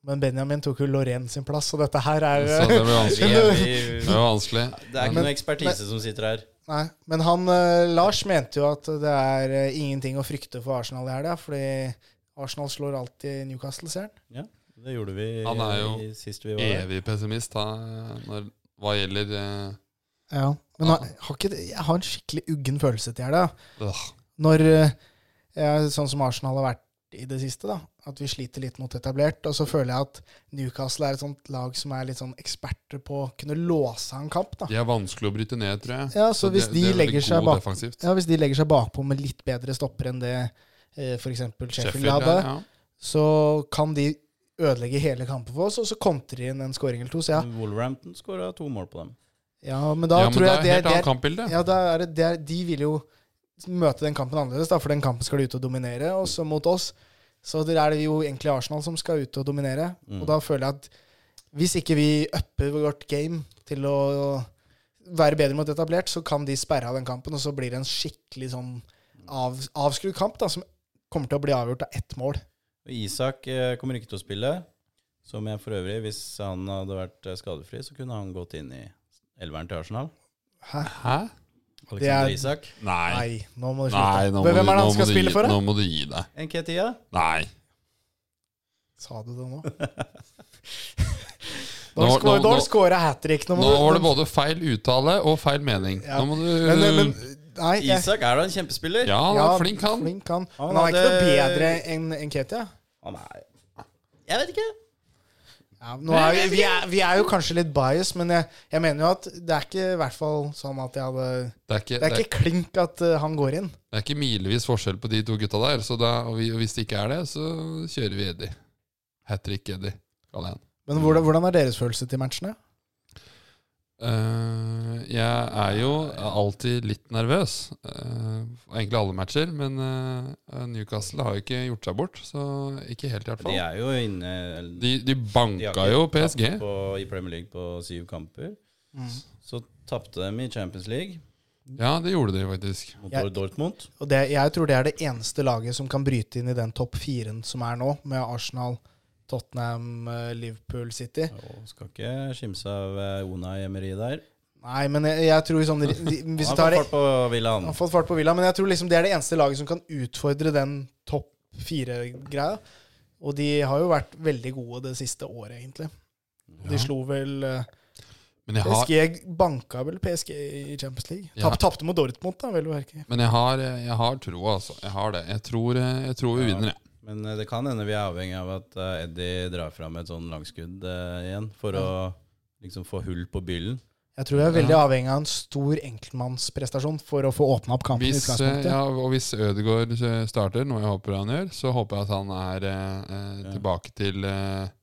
[SPEAKER 2] Men Benjamin tok jo Lorraine sin plass, så dette her er
[SPEAKER 1] Så det blir
[SPEAKER 3] Vi,
[SPEAKER 1] vanskelig.
[SPEAKER 3] vi,
[SPEAKER 1] (laughs) Det blir vanskelig.
[SPEAKER 3] det er ikke
[SPEAKER 2] Men-
[SPEAKER 3] noe ekspertise som sitter her.
[SPEAKER 2] Nei, men han eh, Lars mente jo at det er eh, ingenting å frykte for Arsenal i helga, fordi Arsenal slår alltid Newcastle, ser han.
[SPEAKER 3] Det gjorde vi
[SPEAKER 1] Han er jo
[SPEAKER 3] i- sist vi var her.
[SPEAKER 1] Evig pessimist da, når, hva gjelder eh,
[SPEAKER 2] Ja. Men har, har ikke, det- jeg har en skikkelig uggen følelse til helga.
[SPEAKER 1] øh,
[SPEAKER 2] Når eh, jeg, Sånn som Arsenal har vært i det siste, da. At vi sliter litt mot etablert. Og så føler jeg at Newcastle er et sånt lag som er litt sånn eksperter på å kunne låse av en kamp, da.
[SPEAKER 1] De er vanskelig å bryte ned, tror jeg.
[SPEAKER 2] Ja, så hvis
[SPEAKER 1] det- det
[SPEAKER 2] de
[SPEAKER 1] er veldig
[SPEAKER 2] legger seg
[SPEAKER 1] god
[SPEAKER 2] bak-
[SPEAKER 1] defensivt.
[SPEAKER 2] Ja, Hvis de legger seg bakpå med litt bedre stopper enn det eh, f.eks. Sheffield
[SPEAKER 1] Sheffield,
[SPEAKER 2] hadde,
[SPEAKER 1] ja.
[SPEAKER 2] så kan de ødelegge hele kampen for oss, og så kontrer de inn en scoring eller to. Så ja,
[SPEAKER 3] Wolverhampton skåra to mål på dem.
[SPEAKER 2] ja men da
[SPEAKER 1] Ja, men
[SPEAKER 2] tror
[SPEAKER 1] det
[SPEAKER 2] jeg
[SPEAKER 1] er
[SPEAKER 2] det
[SPEAKER 1] helt
[SPEAKER 2] er, det
[SPEAKER 1] annet
[SPEAKER 2] er,
[SPEAKER 1] kampbilde.
[SPEAKER 2] ja, da er, det, det er De vil jo møte den kampen annerledes, da, for den kampen skal de ut og dominere, og så mot oss. Så det er det jo egentlig Arsenal som skal ut og dominere.
[SPEAKER 3] Mm.
[SPEAKER 2] Og da føler jeg at hvis ikke vi upper vårt game til å være bedre mot etablert, så kan de sperre av den kampen, og så blir det en skikkelig sånn av, avskrudd kamp da, som kommer til å bli avgjort av ett mål.
[SPEAKER 3] Og Isak eh, kommer ikke til å spille, som jeg for øvrig, hvis han hadde vært eh, skadefri, så kunne han gått inn i elveren til Arsenal.
[SPEAKER 2] Hæ?
[SPEAKER 1] Hæ?
[SPEAKER 3] Alexander
[SPEAKER 2] Det er-
[SPEAKER 3] Isak.
[SPEAKER 1] Nei.
[SPEAKER 2] Nei, nå må du
[SPEAKER 1] Nei,
[SPEAKER 2] slutte.
[SPEAKER 1] nå må,
[SPEAKER 2] Hvem
[SPEAKER 1] du-
[SPEAKER 2] er det
[SPEAKER 1] nå
[SPEAKER 2] han
[SPEAKER 1] må
[SPEAKER 2] skal
[SPEAKER 1] du
[SPEAKER 2] spille
[SPEAKER 1] gi-
[SPEAKER 2] for, da?
[SPEAKER 1] Nå må du gi deg.
[SPEAKER 3] Nketia.
[SPEAKER 1] Nei.
[SPEAKER 2] Sa du det
[SPEAKER 1] (laughs)
[SPEAKER 2] nå? (laughs)
[SPEAKER 1] Nå-
[SPEAKER 2] Nå
[SPEAKER 1] nå- nå-
[SPEAKER 2] scora hat trick. Nå, må
[SPEAKER 1] Nå
[SPEAKER 2] du-
[SPEAKER 1] var det både feil uttale og feil mening.
[SPEAKER 2] Ja.
[SPEAKER 1] Nå må du
[SPEAKER 2] men, men, Nei, jeg,
[SPEAKER 3] Isak er da en kjempespiller.
[SPEAKER 1] Ja, han er
[SPEAKER 2] ja,
[SPEAKER 1] flink, han.
[SPEAKER 2] Flink han.
[SPEAKER 3] Han
[SPEAKER 2] Men han er ikke noe
[SPEAKER 3] hadde-
[SPEAKER 2] bedre enn enn Ketia.
[SPEAKER 3] Han er Jeg vet ikke.
[SPEAKER 2] Ja, nå er vi, vi, er, vi er jo kanskje litt bias, men jeg, jeg mener jo at det er ikke i hvert fall sånn at jeg hadde
[SPEAKER 1] Det er ikke,
[SPEAKER 2] Det er ikke klink at eh, han går inn.
[SPEAKER 1] det er ikke milevis forskjell på de to gutta der, så da, og, vi, og hvis det ikke er det, så kjører vi Eddie. Hat trick Eddie, kaller jeg han.
[SPEAKER 2] Men hvordan, hvordan er deres følelse til matchene?
[SPEAKER 1] Eh, jeg er jo alltid litt nervøs. eh, egentlig alle matcher, men eh, Newcastle har jo ikke gjort seg bort, så ikke helt i hvert
[SPEAKER 3] De
[SPEAKER 1] fall.
[SPEAKER 3] er jo inne
[SPEAKER 1] De, de
[SPEAKER 3] de har
[SPEAKER 1] banka
[SPEAKER 3] ikke
[SPEAKER 1] jo PSG.
[SPEAKER 3] tapt På, I Premier League på syv kamper.
[SPEAKER 1] Mm.
[SPEAKER 3] Så tapte de i Champions League
[SPEAKER 1] Ja, det gjorde de faktisk.
[SPEAKER 3] mot
[SPEAKER 2] Jeg-
[SPEAKER 3] Dortmund.
[SPEAKER 2] Og det, jeg tror det er det eneste laget som kan bryte inn i den topp firen som er nå, med Arsenal, Tottenham, eh, Liverpool, City.
[SPEAKER 3] Og skal ikke skimse av eh, Unai Emery der.
[SPEAKER 2] Nei, men jeg, jeg tror
[SPEAKER 3] (laughs)
[SPEAKER 2] sånn de- de- Hvis
[SPEAKER 3] Han
[SPEAKER 2] vi
[SPEAKER 3] har
[SPEAKER 2] tar
[SPEAKER 3] fått
[SPEAKER 2] det
[SPEAKER 3] fart på Villa,
[SPEAKER 2] Han har
[SPEAKER 3] han.
[SPEAKER 2] fått fart på Villa, men jeg tror liksom det er det eneste laget som kan utfordre den topp fire-greia. Og de har jo vært veldig gode det siste året, egentlig. De
[SPEAKER 1] Ja.
[SPEAKER 2] slo vel eh,
[SPEAKER 1] Men jeg har
[SPEAKER 2] PSG Banka vel PSG i Champions League.
[SPEAKER 1] Ja.
[SPEAKER 2] Tap, tapte mot Dortmund, da, vel å merke.
[SPEAKER 1] Men jeg har, jeg har troa, altså. Jeg har det. Jeg tror, eh, jeg tror vi
[SPEAKER 3] Ja.
[SPEAKER 1] vinner, jeg.
[SPEAKER 3] Men eh, det kan hende vi er avhengig av at eh, Eddie drar fram et sånn langskudd eh, igjen, for å liksom få hull på byllen.
[SPEAKER 2] Jeg tror vi er veldig avhengig av en stor enkeltmannsprestasjon for å få åpna opp kampen. i
[SPEAKER 1] Hvis, eh,
[SPEAKER 2] utgangspunktet.
[SPEAKER 1] ja, og hvis Ødegaard eh, starter, noe jeg håper han gjør, så håper jeg at han er eh, eh,
[SPEAKER 3] Ja.
[SPEAKER 1] tilbake til eh,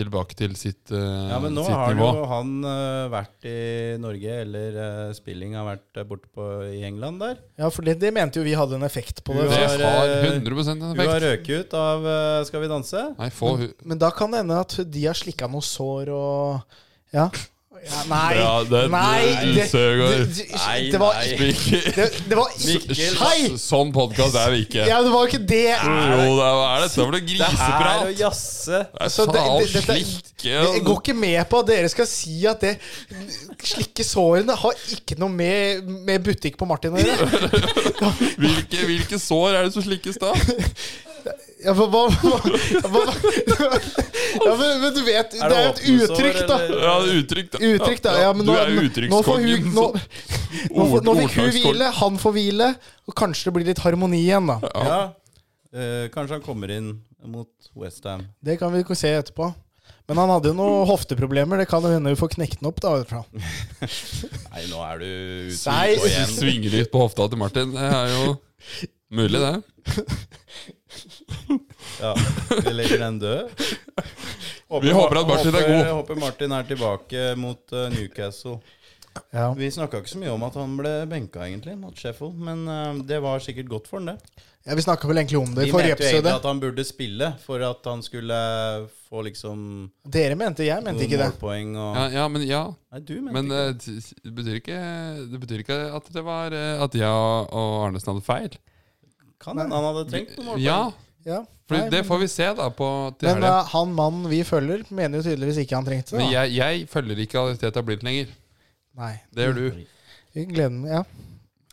[SPEAKER 1] Tilbake til sitt, eh,
[SPEAKER 3] Ja, men nå
[SPEAKER 1] sitt
[SPEAKER 3] har
[SPEAKER 1] nivå.
[SPEAKER 3] jo han eh, vært i Norge, eller eh, spilling har vært eh, borte på, i England der.
[SPEAKER 2] Ja, for det, det mente jo vi hadde en effekt på det.
[SPEAKER 1] Det
[SPEAKER 3] har,
[SPEAKER 1] har
[SPEAKER 3] eh,
[SPEAKER 1] 100 en
[SPEAKER 3] Hun har
[SPEAKER 1] effekt.
[SPEAKER 3] røket ut av eh, Skal vi danse?
[SPEAKER 1] Nei, få hu-
[SPEAKER 2] Men da kan det hende at de har slikka noe sår og Ja. ja nei!
[SPEAKER 1] Ja, det-
[SPEAKER 2] nei!
[SPEAKER 1] du-
[SPEAKER 2] Det,
[SPEAKER 1] Søgaard.
[SPEAKER 2] det,
[SPEAKER 3] Nei,
[SPEAKER 2] det var
[SPEAKER 3] nei.
[SPEAKER 2] ikke Det, det var
[SPEAKER 3] Mikkel.
[SPEAKER 2] Hei!
[SPEAKER 1] Sånn podkast er vi ikke.
[SPEAKER 2] Ja, det var ikke det.
[SPEAKER 1] Jo, det er, hva er dette for noe
[SPEAKER 3] Det er å
[SPEAKER 1] griseprat?
[SPEAKER 3] jazze!
[SPEAKER 1] Det er
[SPEAKER 2] Så det-
[SPEAKER 1] faen
[SPEAKER 2] det- dette-
[SPEAKER 1] slikke altså.
[SPEAKER 2] Jeg går ikke med på at dere skal si at det slikke sårene har ikke noe med, med butikk på Martin å gjøre.
[SPEAKER 1] hvilke, hvilke sår er det som slikkes da?
[SPEAKER 2] Ja, hva, hva, hva, hva ja, men, men du vet, det
[SPEAKER 3] det
[SPEAKER 2] er jo et
[SPEAKER 3] åpne sår,
[SPEAKER 2] uttrykk, da.
[SPEAKER 3] eller?
[SPEAKER 1] Ja, uttrykk, da.
[SPEAKER 2] Uttrykk, da. Ja, men
[SPEAKER 1] du
[SPEAKER 2] nå,
[SPEAKER 1] er sånn
[SPEAKER 2] nå, nå får hun
[SPEAKER 1] uttrykkskongen.
[SPEAKER 2] nå,
[SPEAKER 1] så-
[SPEAKER 2] Nå, får- nå fikk hun
[SPEAKER 1] Ordslagsskole.
[SPEAKER 2] hvile, han får hvile, og kanskje det blir litt harmoni igjen, da.
[SPEAKER 1] Ja.
[SPEAKER 3] Ja. Eh, kanskje han kommer inn mot Westham.
[SPEAKER 2] Det kan vi se etterpå. Men han hadde jo noen hofteproblemer. Det kan jo hende vi får knekt den opp, da. vet du hva.
[SPEAKER 3] Nei, nå er du ute
[SPEAKER 2] Nei.
[SPEAKER 3] og
[SPEAKER 1] Hvis du
[SPEAKER 3] igjen.
[SPEAKER 1] svinger litt på hofta til Martin, det er jo mulig, det.
[SPEAKER 3] Ja, vi legger den død.
[SPEAKER 1] (laughs)
[SPEAKER 3] Håper,
[SPEAKER 1] Vi håper at Martin er
[SPEAKER 3] håper,
[SPEAKER 1] god.
[SPEAKER 3] Håper Martin er tilbake mot eh, Newcastle.
[SPEAKER 2] Ja.
[SPEAKER 3] Vi snakka ikke så mye om at han ble benka, egentlig, mot Sheffield. Men eh, det var sikkert godt for han, det.
[SPEAKER 2] Ja, vi snakka vel egentlig om det
[SPEAKER 3] Vi
[SPEAKER 2] i
[SPEAKER 3] mente
[SPEAKER 2] forrige
[SPEAKER 3] jo egentlig
[SPEAKER 2] episode.
[SPEAKER 3] at han burde spille for at han skulle få liksom
[SPEAKER 2] Dere mente jeg mente
[SPEAKER 3] noen
[SPEAKER 2] ikke det.
[SPEAKER 3] målpoeng og
[SPEAKER 1] Ja, ja men ja.
[SPEAKER 3] Nei, du mente
[SPEAKER 1] Men
[SPEAKER 3] ikke det.
[SPEAKER 1] eh, det betyr ikke, det betyr ikke at det var eh, at jeg og Arnesen hadde feil.
[SPEAKER 3] Kan hende han hadde trengt noen målpoeng.
[SPEAKER 1] Ja,
[SPEAKER 2] Ja.
[SPEAKER 1] for
[SPEAKER 2] Nei,
[SPEAKER 1] det får vi se da på til
[SPEAKER 2] Men
[SPEAKER 1] helga.
[SPEAKER 2] eh, han mannen vi følger, mener jo tydeligvis ikke han trengte det.
[SPEAKER 1] Men
[SPEAKER 2] da.
[SPEAKER 1] jeg, jeg følger ikke Aliteta Blind lenger.
[SPEAKER 2] Nei.
[SPEAKER 1] Det gjør
[SPEAKER 3] Mm.
[SPEAKER 1] du.
[SPEAKER 2] Vi gleder den, ja.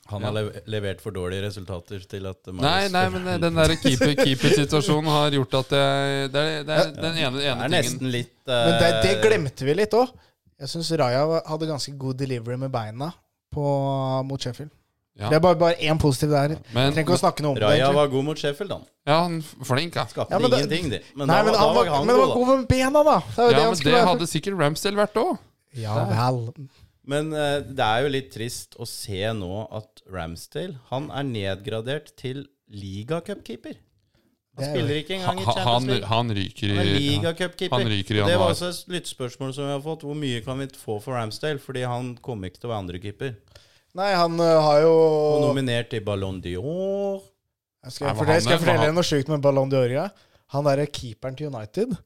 [SPEAKER 3] Han har lev- levert for dårlige resultater til at Marius
[SPEAKER 1] Nei, nei,
[SPEAKER 3] (laughs)
[SPEAKER 1] men eh, den der keeper- keeper-situasjonen har gjort at jeg Det er, det er den ene,
[SPEAKER 3] Det er
[SPEAKER 1] ene tingen.
[SPEAKER 3] nesten litt
[SPEAKER 2] Men det, det
[SPEAKER 3] eh,
[SPEAKER 2] glemte vi litt òg. Jeg syns Raja hadde ganske god delivery med beina på, mot Sheffield.
[SPEAKER 1] Ja.
[SPEAKER 2] Det er bare, bare én positiv der.
[SPEAKER 1] Men
[SPEAKER 2] Trenger ikke å snakke noe om det.
[SPEAKER 3] Raja
[SPEAKER 2] egentlig.
[SPEAKER 3] var god mot Sheffield, da.
[SPEAKER 1] ja, han er flink, ja.
[SPEAKER 3] Skapte
[SPEAKER 2] Ja, men da-
[SPEAKER 3] ingenting, de. Men,
[SPEAKER 2] Nei, men han
[SPEAKER 3] da, var- da
[SPEAKER 2] var,
[SPEAKER 3] var han
[SPEAKER 2] men han
[SPEAKER 3] god,
[SPEAKER 2] var
[SPEAKER 3] da.
[SPEAKER 2] god med bena, da! Det er jo
[SPEAKER 1] Ja,
[SPEAKER 2] det han
[SPEAKER 1] men
[SPEAKER 2] skulle
[SPEAKER 1] det
[SPEAKER 2] være.
[SPEAKER 1] hadde sikkert Ramsdale vært òg.
[SPEAKER 2] Ja vel.
[SPEAKER 3] Men eh, det er jo litt trist å se nå at Ramsdale Han er nedgradert til ligacupkeeper.
[SPEAKER 2] Det er
[SPEAKER 3] Han
[SPEAKER 2] jo-
[SPEAKER 3] spiller ikke engang i Champions
[SPEAKER 1] Han,
[SPEAKER 3] League.
[SPEAKER 1] han ryker
[SPEAKER 3] Han er
[SPEAKER 1] i ja.
[SPEAKER 3] ligacupkeeper.
[SPEAKER 1] Han ryker i
[SPEAKER 3] Og Det var
[SPEAKER 1] januar.
[SPEAKER 3] også et lyttespørsmål som vi har fått. Hvor mye kan vi få for Ramsdale? Fordi han kommer ikke til å være andrekeeper.
[SPEAKER 2] Nei, han ø, har jo
[SPEAKER 3] Og nominert til Ballon d'Or.
[SPEAKER 2] skal jeg,
[SPEAKER 1] Nei, men
[SPEAKER 2] fortelle,
[SPEAKER 1] han
[SPEAKER 2] skal jeg
[SPEAKER 1] er-
[SPEAKER 2] fortelle
[SPEAKER 1] han-
[SPEAKER 2] deg noe sjukt med Ballon d'Or? Han derre keeperen til United,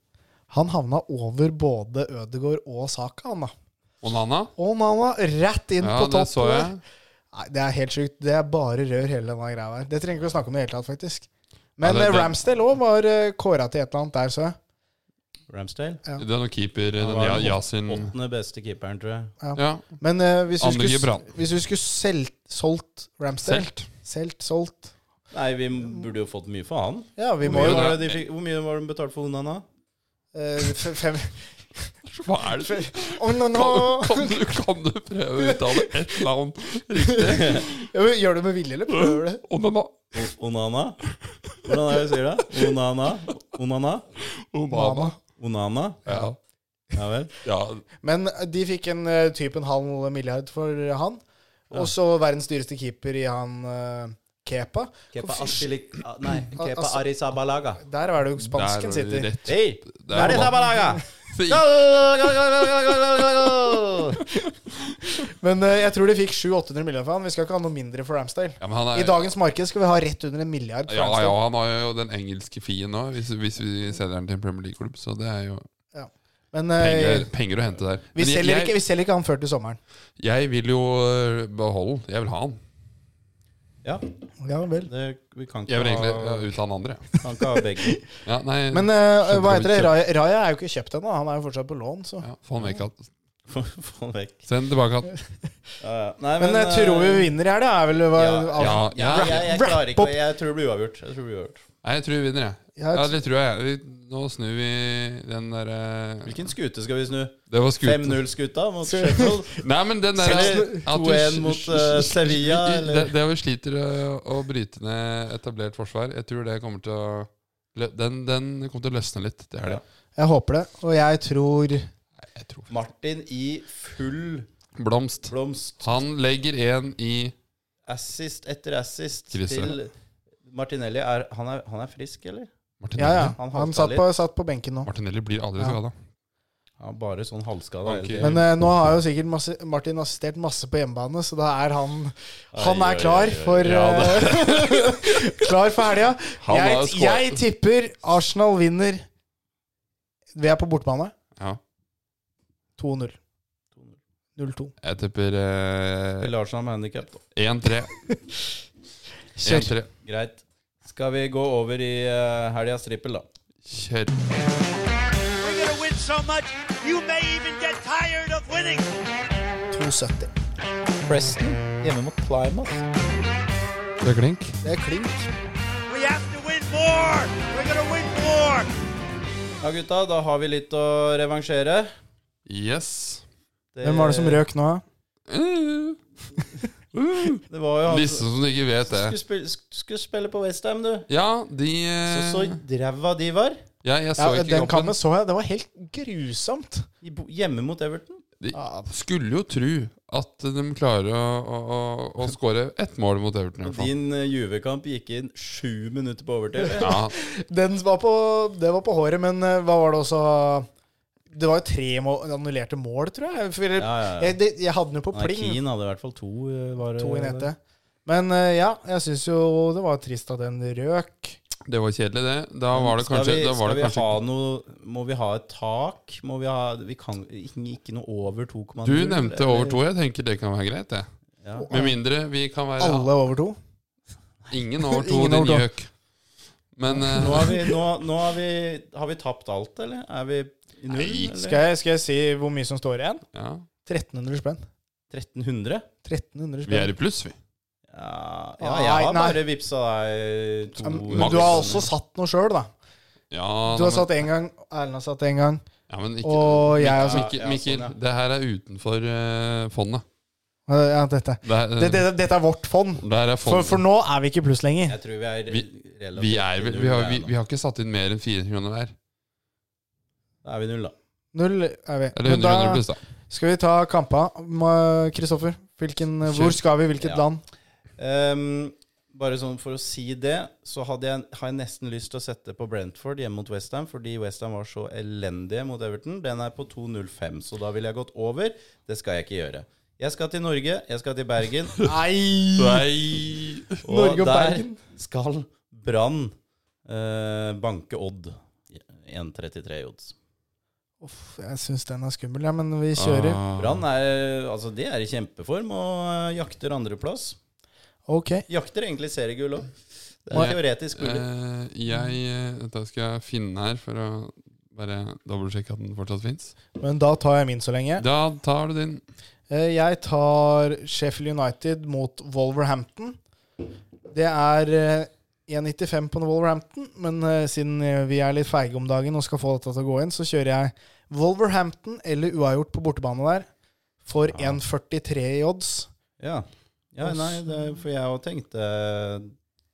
[SPEAKER 2] han havna over både Ødegaard og Saka, han da.
[SPEAKER 1] Onana?
[SPEAKER 2] Og Nana rett inn
[SPEAKER 1] Ja,
[SPEAKER 2] på
[SPEAKER 1] det
[SPEAKER 2] topp.
[SPEAKER 1] så jeg.
[SPEAKER 2] Nei, det er helt sjukt. Det er bare rør hele denne greia der. Det trenger vi ikke å snakke om i det hele tatt, faktisk. Men
[SPEAKER 1] Ja, det-
[SPEAKER 2] eh,
[SPEAKER 1] det-
[SPEAKER 2] Ramsdale òg var eh, kåra til et eller annet der, så jeg.
[SPEAKER 3] Ramsdale.
[SPEAKER 1] Det er noen keeper
[SPEAKER 3] Han
[SPEAKER 1] den
[SPEAKER 3] var
[SPEAKER 1] Ja-
[SPEAKER 3] den
[SPEAKER 1] Yasin
[SPEAKER 3] Åttende beste keeperen, tror jeg.
[SPEAKER 1] Ja,
[SPEAKER 2] Men eh, hvis, du
[SPEAKER 1] Andre
[SPEAKER 2] skulle,
[SPEAKER 1] Gibran.
[SPEAKER 2] hvis du skulle solgt, solgt Ramsdale
[SPEAKER 1] Selt.
[SPEAKER 2] Selt, solgt
[SPEAKER 3] Nei, vi burde jo fått mye for han.
[SPEAKER 2] Ja, vi
[SPEAKER 3] Hvor
[SPEAKER 2] må
[SPEAKER 3] mye
[SPEAKER 2] jo
[SPEAKER 3] var det de fikk- Hvor mye var det de betalt for Onana?
[SPEAKER 2] eh, f- fem,
[SPEAKER 1] Hva er det
[SPEAKER 2] oh, no, no.
[SPEAKER 1] Kan, kan, du, kan du prøve å uttale ett navn riktig?
[SPEAKER 2] Ja, men Gjør du det med vilje, eller prøver du det?
[SPEAKER 1] Onana.
[SPEAKER 3] O- Onana? Hvordan er det du sier det? Onana? Onana?
[SPEAKER 1] Onana.
[SPEAKER 3] Onana?
[SPEAKER 1] Ja.
[SPEAKER 3] Ja vel.
[SPEAKER 1] ja.
[SPEAKER 2] Men de fikk en eh, typ en halv milliard for han. Og så verdens dyreste keeper i han eh, Kepa.
[SPEAKER 3] Kepa
[SPEAKER 2] Hvorfor-
[SPEAKER 3] Asilik... ah, Nei, Kepa
[SPEAKER 2] Altså-
[SPEAKER 3] Arizabalaga.
[SPEAKER 2] Der er det jo spansken
[SPEAKER 1] Der var det
[SPEAKER 2] sitter.
[SPEAKER 1] rett.
[SPEAKER 3] Hei!
[SPEAKER 1] Det er
[SPEAKER 3] Arizabalaga!
[SPEAKER 1] Så
[SPEAKER 3] Go,
[SPEAKER 1] i-
[SPEAKER 3] go, go, go, go, go, go, go, go!
[SPEAKER 2] Men eh, jeg tror de fikk 700-800 millioner for han. Vi skal ikke ha noe mindre for Ramsdale.
[SPEAKER 1] Ja, men han
[SPEAKER 2] I
[SPEAKER 1] er,
[SPEAKER 2] dagens marked skal vi ha rett under en milliard. for
[SPEAKER 1] ja,
[SPEAKER 2] Ramsdale.
[SPEAKER 1] ja, han har jo den engelske fien nå, hvis, hvis vi selger den til en Premier League-klubb. Så det er jo
[SPEAKER 2] Men eh,
[SPEAKER 1] penger, penger å hente der.
[SPEAKER 2] vi,
[SPEAKER 1] Men jeg,
[SPEAKER 2] selger ikke,
[SPEAKER 1] jeg,
[SPEAKER 2] vi selger ikke han før til sommeren.
[SPEAKER 1] jeg vil jo øh, beholde den. Jeg vil ha den.
[SPEAKER 3] Ja,
[SPEAKER 2] Ja vel.
[SPEAKER 3] det, vi kan
[SPEAKER 1] Jeg
[SPEAKER 3] ikke
[SPEAKER 1] vil egentlig
[SPEAKER 3] ha,
[SPEAKER 1] øh, ut han andre.
[SPEAKER 3] kan ikke ha begge.
[SPEAKER 1] Ja, nei,
[SPEAKER 2] Ah. (laughs) Men eh,
[SPEAKER 1] Skjønner
[SPEAKER 2] hva heter det?
[SPEAKER 1] ikke.
[SPEAKER 2] Raja, Raja er jo ikke kjøpt ennå. Han er jo fortsatt på lån. Så.
[SPEAKER 1] ja, få han vekk igjen.
[SPEAKER 3] Få få den vekk.
[SPEAKER 1] Send den tilbake igjen.
[SPEAKER 3] Ja, ja. Nei, eh,
[SPEAKER 2] Men jeg tror vi vinner her, det er vel eh, hva,
[SPEAKER 3] Ja,
[SPEAKER 1] eh, Ja,
[SPEAKER 3] ja,
[SPEAKER 1] ja.
[SPEAKER 3] jeg, jeg
[SPEAKER 2] Wrap
[SPEAKER 3] klarer
[SPEAKER 2] up.
[SPEAKER 3] ikke Jeg tror det blir uavgjort. Jeg tror det blir uavgjort.
[SPEAKER 1] Nei, jeg tror vi vinner, jeg.
[SPEAKER 2] Jeg
[SPEAKER 1] Ja,
[SPEAKER 2] tror-
[SPEAKER 1] det tror jeg. Vi, nå snur vi den derre
[SPEAKER 3] Hvilken skute skal vi snu?
[SPEAKER 1] Det var skute.
[SPEAKER 3] 5-0-skuta mot Sheffield?
[SPEAKER 1] Nei, men den derre
[SPEAKER 3] Eller
[SPEAKER 1] at du
[SPEAKER 3] 2-1
[SPEAKER 1] sl-
[SPEAKER 3] mot,
[SPEAKER 1] sl-
[SPEAKER 3] eh,
[SPEAKER 1] sl-
[SPEAKER 3] Sevilla,
[SPEAKER 1] sl-
[SPEAKER 3] eller?
[SPEAKER 1] Det, det vi sliter å, å bryte ned etablert forsvar, jeg tror det kommer til å lø- Den, den kommer til å løsne litt. Det er det.
[SPEAKER 2] Jeg håper det. Og jeg tror
[SPEAKER 1] Jeg tror.
[SPEAKER 3] Martin i full
[SPEAKER 1] Blomst.
[SPEAKER 3] blomst.
[SPEAKER 1] Han legger en i
[SPEAKER 3] Assist etter assist
[SPEAKER 1] Krise.
[SPEAKER 3] til Martinelli. Er, han, er, han er frisk, eller?
[SPEAKER 2] Ja,
[SPEAKER 1] Martinelli.
[SPEAKER 2] ja.
[SPEAKER 3] Han halta
[SPEAKER 2] Han satt på, satt på benken nå.
[SPEAKER 1] Martinelli blir aldri
[SPEAKER 2] Ja.
[SPEAKER 1] skada.
[SPEAKER 3] Han er bare sånn halvskada.
[SPEAKER 1] Ok.
[SPEAKER 3] hele tiden.
[SPEAKER 2] Men eh, nå har jo sikkert masse, Martin assistert masse på hjemmebane, så da er han eh, Han
[SPEAKER 3] Oi, oi,
[SPEAKER 2] er klar
[SPEAKER 3] oi, oi.
[SPEAKER 2] for
[SPEAKER 1] Ja,
[SPEAKER 2] eh, (laughs) Klar for helga.
[SPEAKER 1] (laughs) Han har
[SPEAKER 2] Jeg,
[SPEAKER 1] jo skåret.
[SPEAKER 2] jeg tipper Arsenal vinner Vi er på bortebane.
[SPEAKER 1] Ja.
[SPEAKER 2] 2-0. 0-2.
[SPEAKER 1] Jeg tipper eh,
[SPEAKER 3] Eller Arsenal med handicap, da.
[SPEAKER 1] 1-3.
[SPEAKER 2] Kjør.
[SPEAKER 1] 1-3.
[SPEAKER 3] Greit. Skal vi gå over i uh, helgas trippel, da?
[SPEAKER 1] Kjør.
[SPEAKER 4] We're going to win so much, you may even get tired of winning.
[SPEAKER 2] 2-70.
[SPEAKER 3] Preston hjemme mot Plymouth.
[SPEAKER 1] Det er klink.
[SPEAKER 2] Det er klink.
[SPEAKER 4] We have to win more. We're going to win more.
[SPEAKER 3] Ja, gutta, da har vi litt å revansjere.
[SPEAKER 1] Yes.
[SPEAKER 2] Hvem var det som røk nå?
[SPEAKER 1] Eh,
[SPEAKER 3] Det var jo han
[SPEAKER 1] Disse som ikke vet
[SPEAKER 3] skulle
[SPEAKER 1] det.
[SPEAKER 3] spille, skulle spille på Westham, du.
[SPEAKER 1] Ja, de
[SPEAKER 3] Så så
[SPEAKER 1] eh,
[SPEAKER 3] dræva de var.
[SPEAKER 1] ja, Jeg så
[SPEAKER 2] Ja,
[SPEAKER 1] ikke
[SPEAKER 2] den
[SPEAKER 1] kampen.
[SPEAKER 2] kampen så jeg. Det var helt grusomt.
[SPEAKER 3] I bo- Hjemme mot Everton.
[SPEAKER 1] De
[SPEAKER 2] Ja.
[SPEAKER 1] skulle jo tro at de klarer å, å, å, å skåre ett mål mot Everton. i hvert fall.
[SPEAKER 3] Din eh, Juve-kamp gikk inn sju minutter på overtid.
[SPEAKER 1] Ja,
[SPEAKER 2] Den var på, det var på håret, men eh, hva var det også Det var jo tre må- annullerte mål, tror jeg. For,
[SPEAKER 3] Ja, ja, ja.
[SPEAKER 2] Jeg, det, jeg hadde den jo på
[SPEAKER 3] Nei,
[SPEAKER 2] pling.
[SPEAKER 3] Keane hadde i hvert fall to. eh, Var, det-
[SPEAKER 2] To i nettet. Men eh, ja, jeg syns jo det var trist at den røk.
[SPEAKER 1] Det var kjedelig, det. Da var det kanskje
[SPEAKER 3] skal vi,
[SPEAKER 1] da var
[SPEAKER 3] skal
[SPEAKER 1] det
[SPEAKER 3] vi
[SPEAKER 1] kanskje
[SPEAKER 3] ha noe Må vi ha et tak? Må vi ha Vi kan ikke, ikke noe over 2,0?
[SPEAKER 1] Du nevnte
[SPEAKER 3] eller-
[SPEAKER 1] over to. Jeg tenker det kan være greit, det.
[SPEAKER 3] Ja.
[SPEAKER 1] Med mindre vi kan være
[SPEAKER 2] Alle over to.
[SPEAKER 1] Ingen over to,
[SPEAKER 2] Ingen
[SPEAKER 1] din
[SPEAKER 2] over to.
[SPEAKER 1] gjøk. Men eh,
[SPEAKER 3] Nå, er vi, nå, nå er vi, har vi tapt alt, eller? Er vi i null?
[SPEAKER 1] Nei.
[SPEAKER 3] eller?
[SPEAKER 2] Skal jeg, skal jeg si hvor mye som står igjen?
[SPEAKER 1] ja,
[SPEAKER 2] 1300 spenn.
[SPEAKER 3] 1300?
[SPEAKER 2] 1300
[SPEAKER 1] vi er
[SPEAKER 2] spenn.
[SPEAKER 1] i pluss, vi.
[SPEAKER 3] Ja, ja jeg
[SPEAKER 2] Nei,
[SPEAKER 3] har
[SPEAKER 2] nei.
[SPEAKER 3] bare vippsa deg to
[SPEAKER 2] Ja, Men
[SPEAKER 1] Maks.
[SPEAKER 2] du har også satt noe sjøl, da.
[SPEAKER 1] Ja,
[SPEAKER 2] Du
[SPEAKER 1] nei,
[SPEAKER 2] har
[SPEAKER 1] men-
[SPEAKER 2] satt én gang, Erlend har satt én gang.
[SPEAKER 1] ja, men ikke,
[SPEAKER 2] og jeg
[SPEAKER 1] Mikkel,
[SPEAKER 2] har
[SPEAKER 3] satt-
[SPEAKER 1] Mikkel,
[SPEAKER 3] Ja, ja,
[SPEAKER 1] Mikkel,
[SPEAKER 3] sånn, ja.
[SPEAKER 1] det her er utenfor eh, fondet.
[SPEAKER 2] Eh, Ja, dette.
[SPEAKER 1] Det er,
[SPEAKER 2] Det, det, dette er vårt fond.
[SPEAKER 1] det her er
[SPEAKER 2] For,
[SPEAKER 1] fondet.
[SPEAKER 2] for nå er vi ikke i pluss lenger.
[SPEAKER 3] Jeg tror vi er
[SPEAKER 1] Vi-
[SPEAKER 3] relativt
[SPEAKER 1] vi, er,
[SPEAKER 3] i
[SPEAKER 1] vel-
[SPEAKER 3] null
[SPEAKER 1] vi, har,
[SPEAKER 3] der
[SPEAKER 1] vi,
[SPEAKER 3] nå.
[SPEAKER 1] vi har ikke satt inn mer enn 400 kroner der.
[SPEAKER 3] Da er vi null, da.
[SPEAKER 2] Null er vi.
[SPEAKER 1] Eller
[SPEAKER 2] Men
[SPEAKER 1] 100 kroner
[SPEAKER 2] da
[SPEAKER 1] pluss, da.
[SPEAKER 2] skal vi ta kampa. Må- Kristoffer, hvilken, hvor skal vi? Hvilket
[SPEAKER 3] Ja.
[SPEAKER 2] land?
[SPEAKER 3] Ehm, bare sånn for å si det, så hadde jeg, har jeg nesten lyst til å sette på Brentford hjemme mot Westham, fordi Westham var så elendige mot Everton. Den er på 2.05, så da ville jeg gått over. Det skal jeg ikke gjøre. Jeg skal til Norge, jeg skal
[SPEAKER 2] (laughs)
[SPEAKER 3] til Bergen,
[SPEAKER 2] Nei!
[SPEAKER 1] Nei
[SPEAKER 3] og,
[SPEAKER 2] Norge og
[SPEAKER 3] der
[SPEAKER 2] Bergen.
[SPEAKER 3] skal Brann eh, banke Odd. 1.33 i odds.
[SPEAKER 2] Uff, jeg syns den er skummel, ja, men vi kjører.
[SPEAKER 1] Ah.
[SPEAKER 3] Brann er, altså, de er i kjempeform og eh, jakter andreplass.
[SPEAKER 2] Ok.
[SPEAKER 3] Jakter egentlig seriegull òg. Det er teoretisk mulig.
[SPEAKER 1] Eh, jeg eh, Dette skal jeg finne her for å bare dobbeltsjekke at den fortsatt fins.
[SPEAKER 2] Men da tar jeg min så lenge.
[SPEAKER 1] Da tar du din.
[SPEAKER 2] Eh, Jeg tar Sheffield United mot Wolverhampton. Det er eh, 1,95 på Wolverhampton, men eh, siden eh, vi er litt feige om dagen og skal få dette til å gå inn, så kjører jeg Wolverhampton eller uavgjort på bortebane der for 1,43 i odds.
[SPEAKER 3] Ja. ja
[SPEAKER 2] Og
[SPEAKER 3] nei,
[SPEAKER 2] så-
[SPEAKER 3] det, for jeg òg tenkte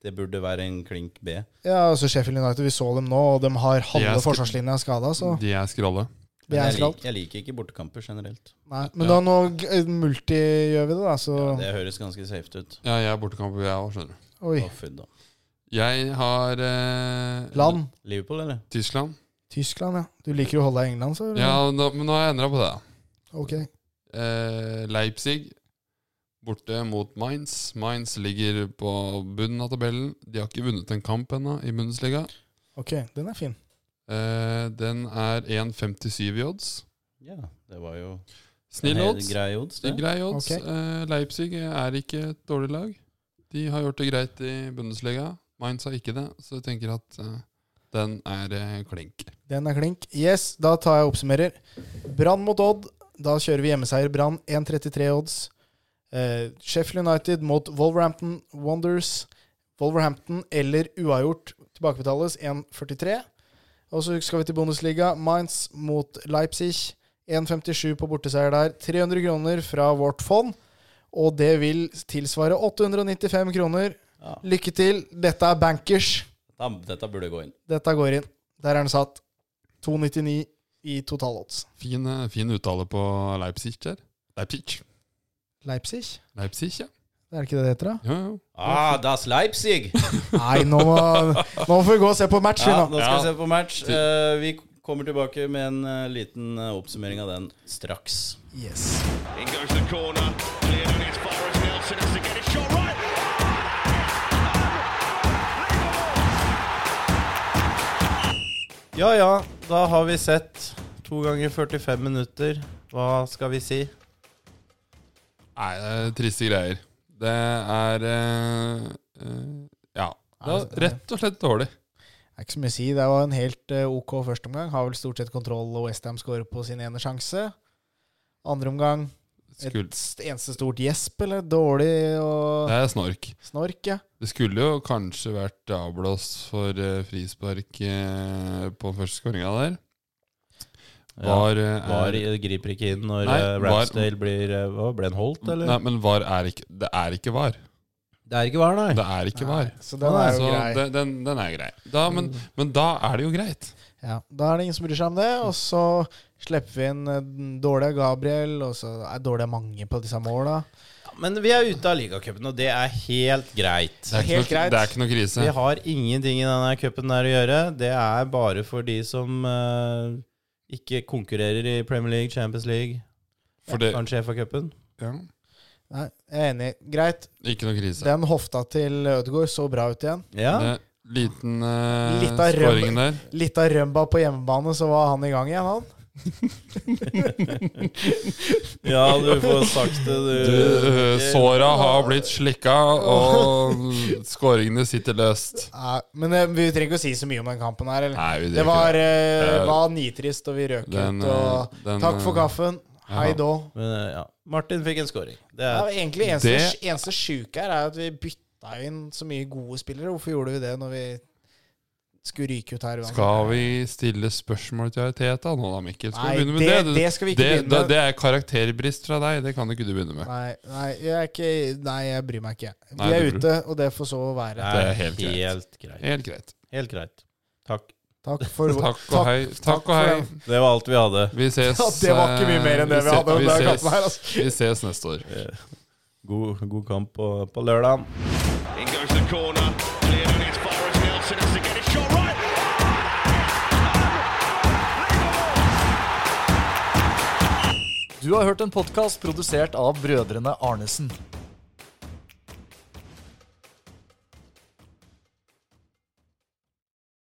[SPEAKER 3] det burde være en klink B.
[SPEAKER 2] Ja, altså Sheffield United, vi så dem nå, og de har
[SPEAKER 1] Jeg
[SPEAKER 2] halve
[SPEAKER 1] skal-
[SPEAKER 2] forsvarslinja skada, så
[SPEAKER 1] De er skrolle.
[SPEAKER 2] det
[SPEAKER 3] Men
[SPEAKER 2] er
[SPEAKER 3] jeg, lik,
[SPEAKER 2] skralt.
[SPEAKER 3] jeg liker ikke bortekamper generelt.
[SPEAKER 2] Nei, Men da
[SPEAKER 1] Ja.
[SPEAKER 2] nå g- eh, multi gjør vi det, da, så
[SPEAKER 3] Det høres ganske safe ut.
[SPEAKER 1] Ja, jeg er bortekamp, jeg òg, skjønner du.
[SPEAKER 2] Oi.
[SPEAKER 3] Å, fy da.
[SPEAKER 1] Jeg har eh,
[SPEAKER 2] Land.
[SPEAKER 3] Liverpool, eller?
[SPEAKER 1] Tyskland.
[SPEAKER 2] Tyskland, ja. Du liker jo å holde deg i England, så? eller?
[SPEAKER 1] Ja, nå, men nå har jeg endra på det. da.
[SPEAKER 2] Ok.
[SPEAKER 1] Eh, Leipzig borte mot Mainz. Mainz ligger på bunnen av tabellen. De har ikke vunnet en kamp ennå i Bundesliga.
[SPEAKER 2] Ok, den er fin.
[SPEAKER 1] Eh, den er 1,57 i odds.
[SPEAKER 3] Ja, det var jo
[SPEAKER 1] Snill
[SPEAKER 3] en helt
[SPEAKER 1] odds.
[SPEAKER 3] grei odds.
[SPEAKER 1] Det
[SPEAKER 3] Det.
[SPEAKER 1] er grei odds.
[SPEAKER 2] Ok.
[SPEAKER 1] Eh, Leipzig er ikke et dårlig lag. De har gjort det greit i Bundesliga. Mainz har ikke det, så jeg tenker at eh, den er eh, klink.
[SPEAKER 2] Den er klink. Yes, da tar jeg og oppsummerer. Brann mot Odd. Da kjører vi hjemmeseier. Brann 1,33 odds. Eh, Sheffield United mot Wolverhampton Wonders. Wolverhampton eller uavgjort tilbakebetales 1,43. Og så skal vi til Bundesliga. Mainz mot Leipzig. 1,57 på borteseier der. 300 kroner fra vårt fond. Og det vil tilsvare 895 kroner.
[SPEAKER 3] Ja.
[SPEAKER 2] Lykke til. Dette er bankers.
[SPEAKER 3] Da, dette burde gå inn.
[SPEAKER 2] Dette går inn. Der er den satt. 2,99 i totalodds.
[SPEAKER 1] Fin, eh, fin uttale på Leipzig der. Leipzig.
[SPEAKER 2] Leipzig?
[SPEAKER 1] Leipzig, ja.
[SPEAKER 2] Det er ikke det det heter, da?
[SPEAKER 1] Jo, jo.
[SPEAKER 3] Ah, das (laughs) Leipzig!
[SPEAKER 2] Nei, nå må, nå må vi gå og se på match, vi
[SPEAKER 3] Ja,
[SPEAKER 2] nå.
[SPEAKER 3] nå skal
[SPEAKER 1] Ja.
[SPEAKER 3] vi se på match. Eh, vi kommer tilbake med en eh, liten eh, oppsummering av den straks.
[SPEAKER 2] Yes.
[SPEAKER 4] In goes the corner. Cleared and it's Forrest Nelson has to get a shot right.
[SPEAKER 3] Ja ja, da har vi sett to ganger 45 minutter. Hva skal vi si?
[SPEAKER 1] Nei, det er triste greier. Det er eh, eh, Ja. Det
[SPEAKER 2] Nei,
[SPEAKER 1] er rett og slett dårlig.
[SPEAKER 2] Det er ikke så mye å si. Det var en helt eh, OK førsteomgang. Har vel stort sett kontroll, og Westham scorer på sin ene sjanse. Andre omgang et
[SPEAKER 1] Skul-
[SPEAKER 2] st- eneste stort gjesp, eller? Dårlig og
[SPEAKER 1] Det er snork.
[SPEAKER 2] snork, ja.
[SPEAKER 1] Det skulle jo kanskje vært avblåst for eh, frispark eh, på første skåringa der. Var, eh,
[SPEAKER 3] Var
[SPEAKER 1] er-
[SPEAKER 3] eh, griper ikke inn når
[SPEAKER 1] Nei,
[SPEAKER 3] eh,
[SPEAKER 1] var-
[SPEAKER 3] Ramsdale blir eh, hva, Ble han holdt, eller?
[SPEAKER 1] Nei, men var er ikke Det er ikke var.
[SPEAKER 3] Det er ikke var, nei.
[SPEAKER 1] Det er ikke var.
[SPEAKER 2] Så den er jo
[SPEAKER 1] Så
[SPEAKER 2] grei.
[SPEAKER 1] den, den, den er grei. Da, men, men da er det jo greit.
[SPEAKER 2] Ja, Da er det ingen som bryr seg om det. Og så slipper vi inn eh, dårlig av Gabriel, og så er dårlig av mange på disse måla.
[SPEAKER 3] Men vi er ute av ligacupen, og det er helt greit.
[SPEAKER 1] Det er ikke,
[SPEAKER 2] Helt
[SPEAKER 1] noe,
[SPEAKER 2] greit.
[SPEAKER 1] det er ikke noe
[SPEAKER 3] Vi
[SPEAKER 1] krise.
[SPEAKER 3] har ingenting i denne cupen der å gjøre. Det er bare for de som eh, ikke konkurrerer i Premier League, Champions League,
[SPEAKER 1] For det,
[SPEAKER 3] kanskje FA-cupen.
[SPEAKER 1] ja,
[SPEAKER 2] Nei, jeg er enig. Greit.
[SPEAKER 1] ikke noe krise.
[SPEAKER 2] Den hofta til Ødegaard så bra ut igjen.
[SPEAKER 3] Ja.
[SPEAKER 1] Det, liten uh,
[SPEAKER 2] Litt av røm.
[SPEAKER 1] skåringen der.
[SPEAKER 2] Litt av rømba på hjemmebane, så var han i gang igjen, han.
[SPEAKER 3] ja, du får sagt det,
[SPEAKER 1] Du, eh, såra har blitt slikka, (laughs) og skåringene sitter løst.
[SPEAKER 2] Nei, men eh, vi trenger ikke å si så mye om den kampen her. Eller?
[SPEAKER 1] Nei, vi
[SPEAKER 2] det
[SPEAKER 1] driver
[SPEAKER 2] var,
[SPEAKER 1] ikke det.
[SPEAKER 2] eh,
[SPEAKER 1] Eh,
[SPEAKER 2] var nitrist, og vi røk
[SPEAKER 1] den,
[SPEAKER 2] ut. Og
[SPEAKER 1] eh, den,
[SPEAKER 2] takk for
[SPEAKER 1] eh,
[SPEAKER 2] kaffen. Hei
[SPEAKER 1] ja.
[SPEAKER 2] då.
[SPEAKER 3] Men, eh, ja. Martin fikk en scoring. Det
[SPEAKER 2] Det
[SPEAKER 3] er,
[SPEAKER 2] er egentlig eneste,
[SPEAKER 1] Det-
[SPEAKER 2] eneste sjuke her er at vi bytta inn så mye gode spillere. Hvorfor gjorde vi det når vi skulle ryke ut her? uansett?
[SPEAKER 1] Skal vi stille spørsmål til Arteta nå da, Mikkel? Skal vi
[SPEAKER 2] Nei,
[SPEAKER 1] begynne med det?
[SPEAKER 2] det- det skal vi ikke
[SPEAKER 1] det,
[SPEAKER 2] begynne
[SPEAKER 1] da-
[SPEAKER 2] med.
[SPEAKER 1] Det er karakterbrist fra deg, det kan ikke du begynne med.
[SPEAKER 2] Nei, nei, jeg er ikke, nei, jeg bryr meg ikke. Vi
[SPEAKER 1] Nei,
[SPEAKER 2] er
[SPEAKER 1] du bryr-
[SPEAKER 2] ute, og det får så være.
[SPEAKER 1] Det er helt greit.
[SPEAKER 3] Helt greit.
[SPEAKER 1] Helt greit.
[SPEAKER 3] Helt greit. Takk.
[SPEAKER 2] Takk for
[SPEAKER 1] (laughs) Takk og hei. Takk og
[SPEAKER 2] for
[SPEAKER 1] hei.
[SPEAKER 2] den.
[SPEAKER 3] Det var alt vi hadde.
[SPEAKER 1] Vi ses
[SPEAKER 2] Ja, det var ikke mye mer enn det vi
[SPEAKER 1] se-
[SPEAKER 2] hadde om denne
[SPEAKER 1] ses-
[SPEAKER 2] kampen her, altså.
[SPEAKER 1] Vi ses neste år.
[SPEAKER 3] God, god kamp på, på lørdag.
[SPEAKER 4] In goes the corner. Cleared and it's Forrest Nelson has to get a shot right.
[SPEAKER 5] Du har hørt en podkast produsert av brødrene Arnesen.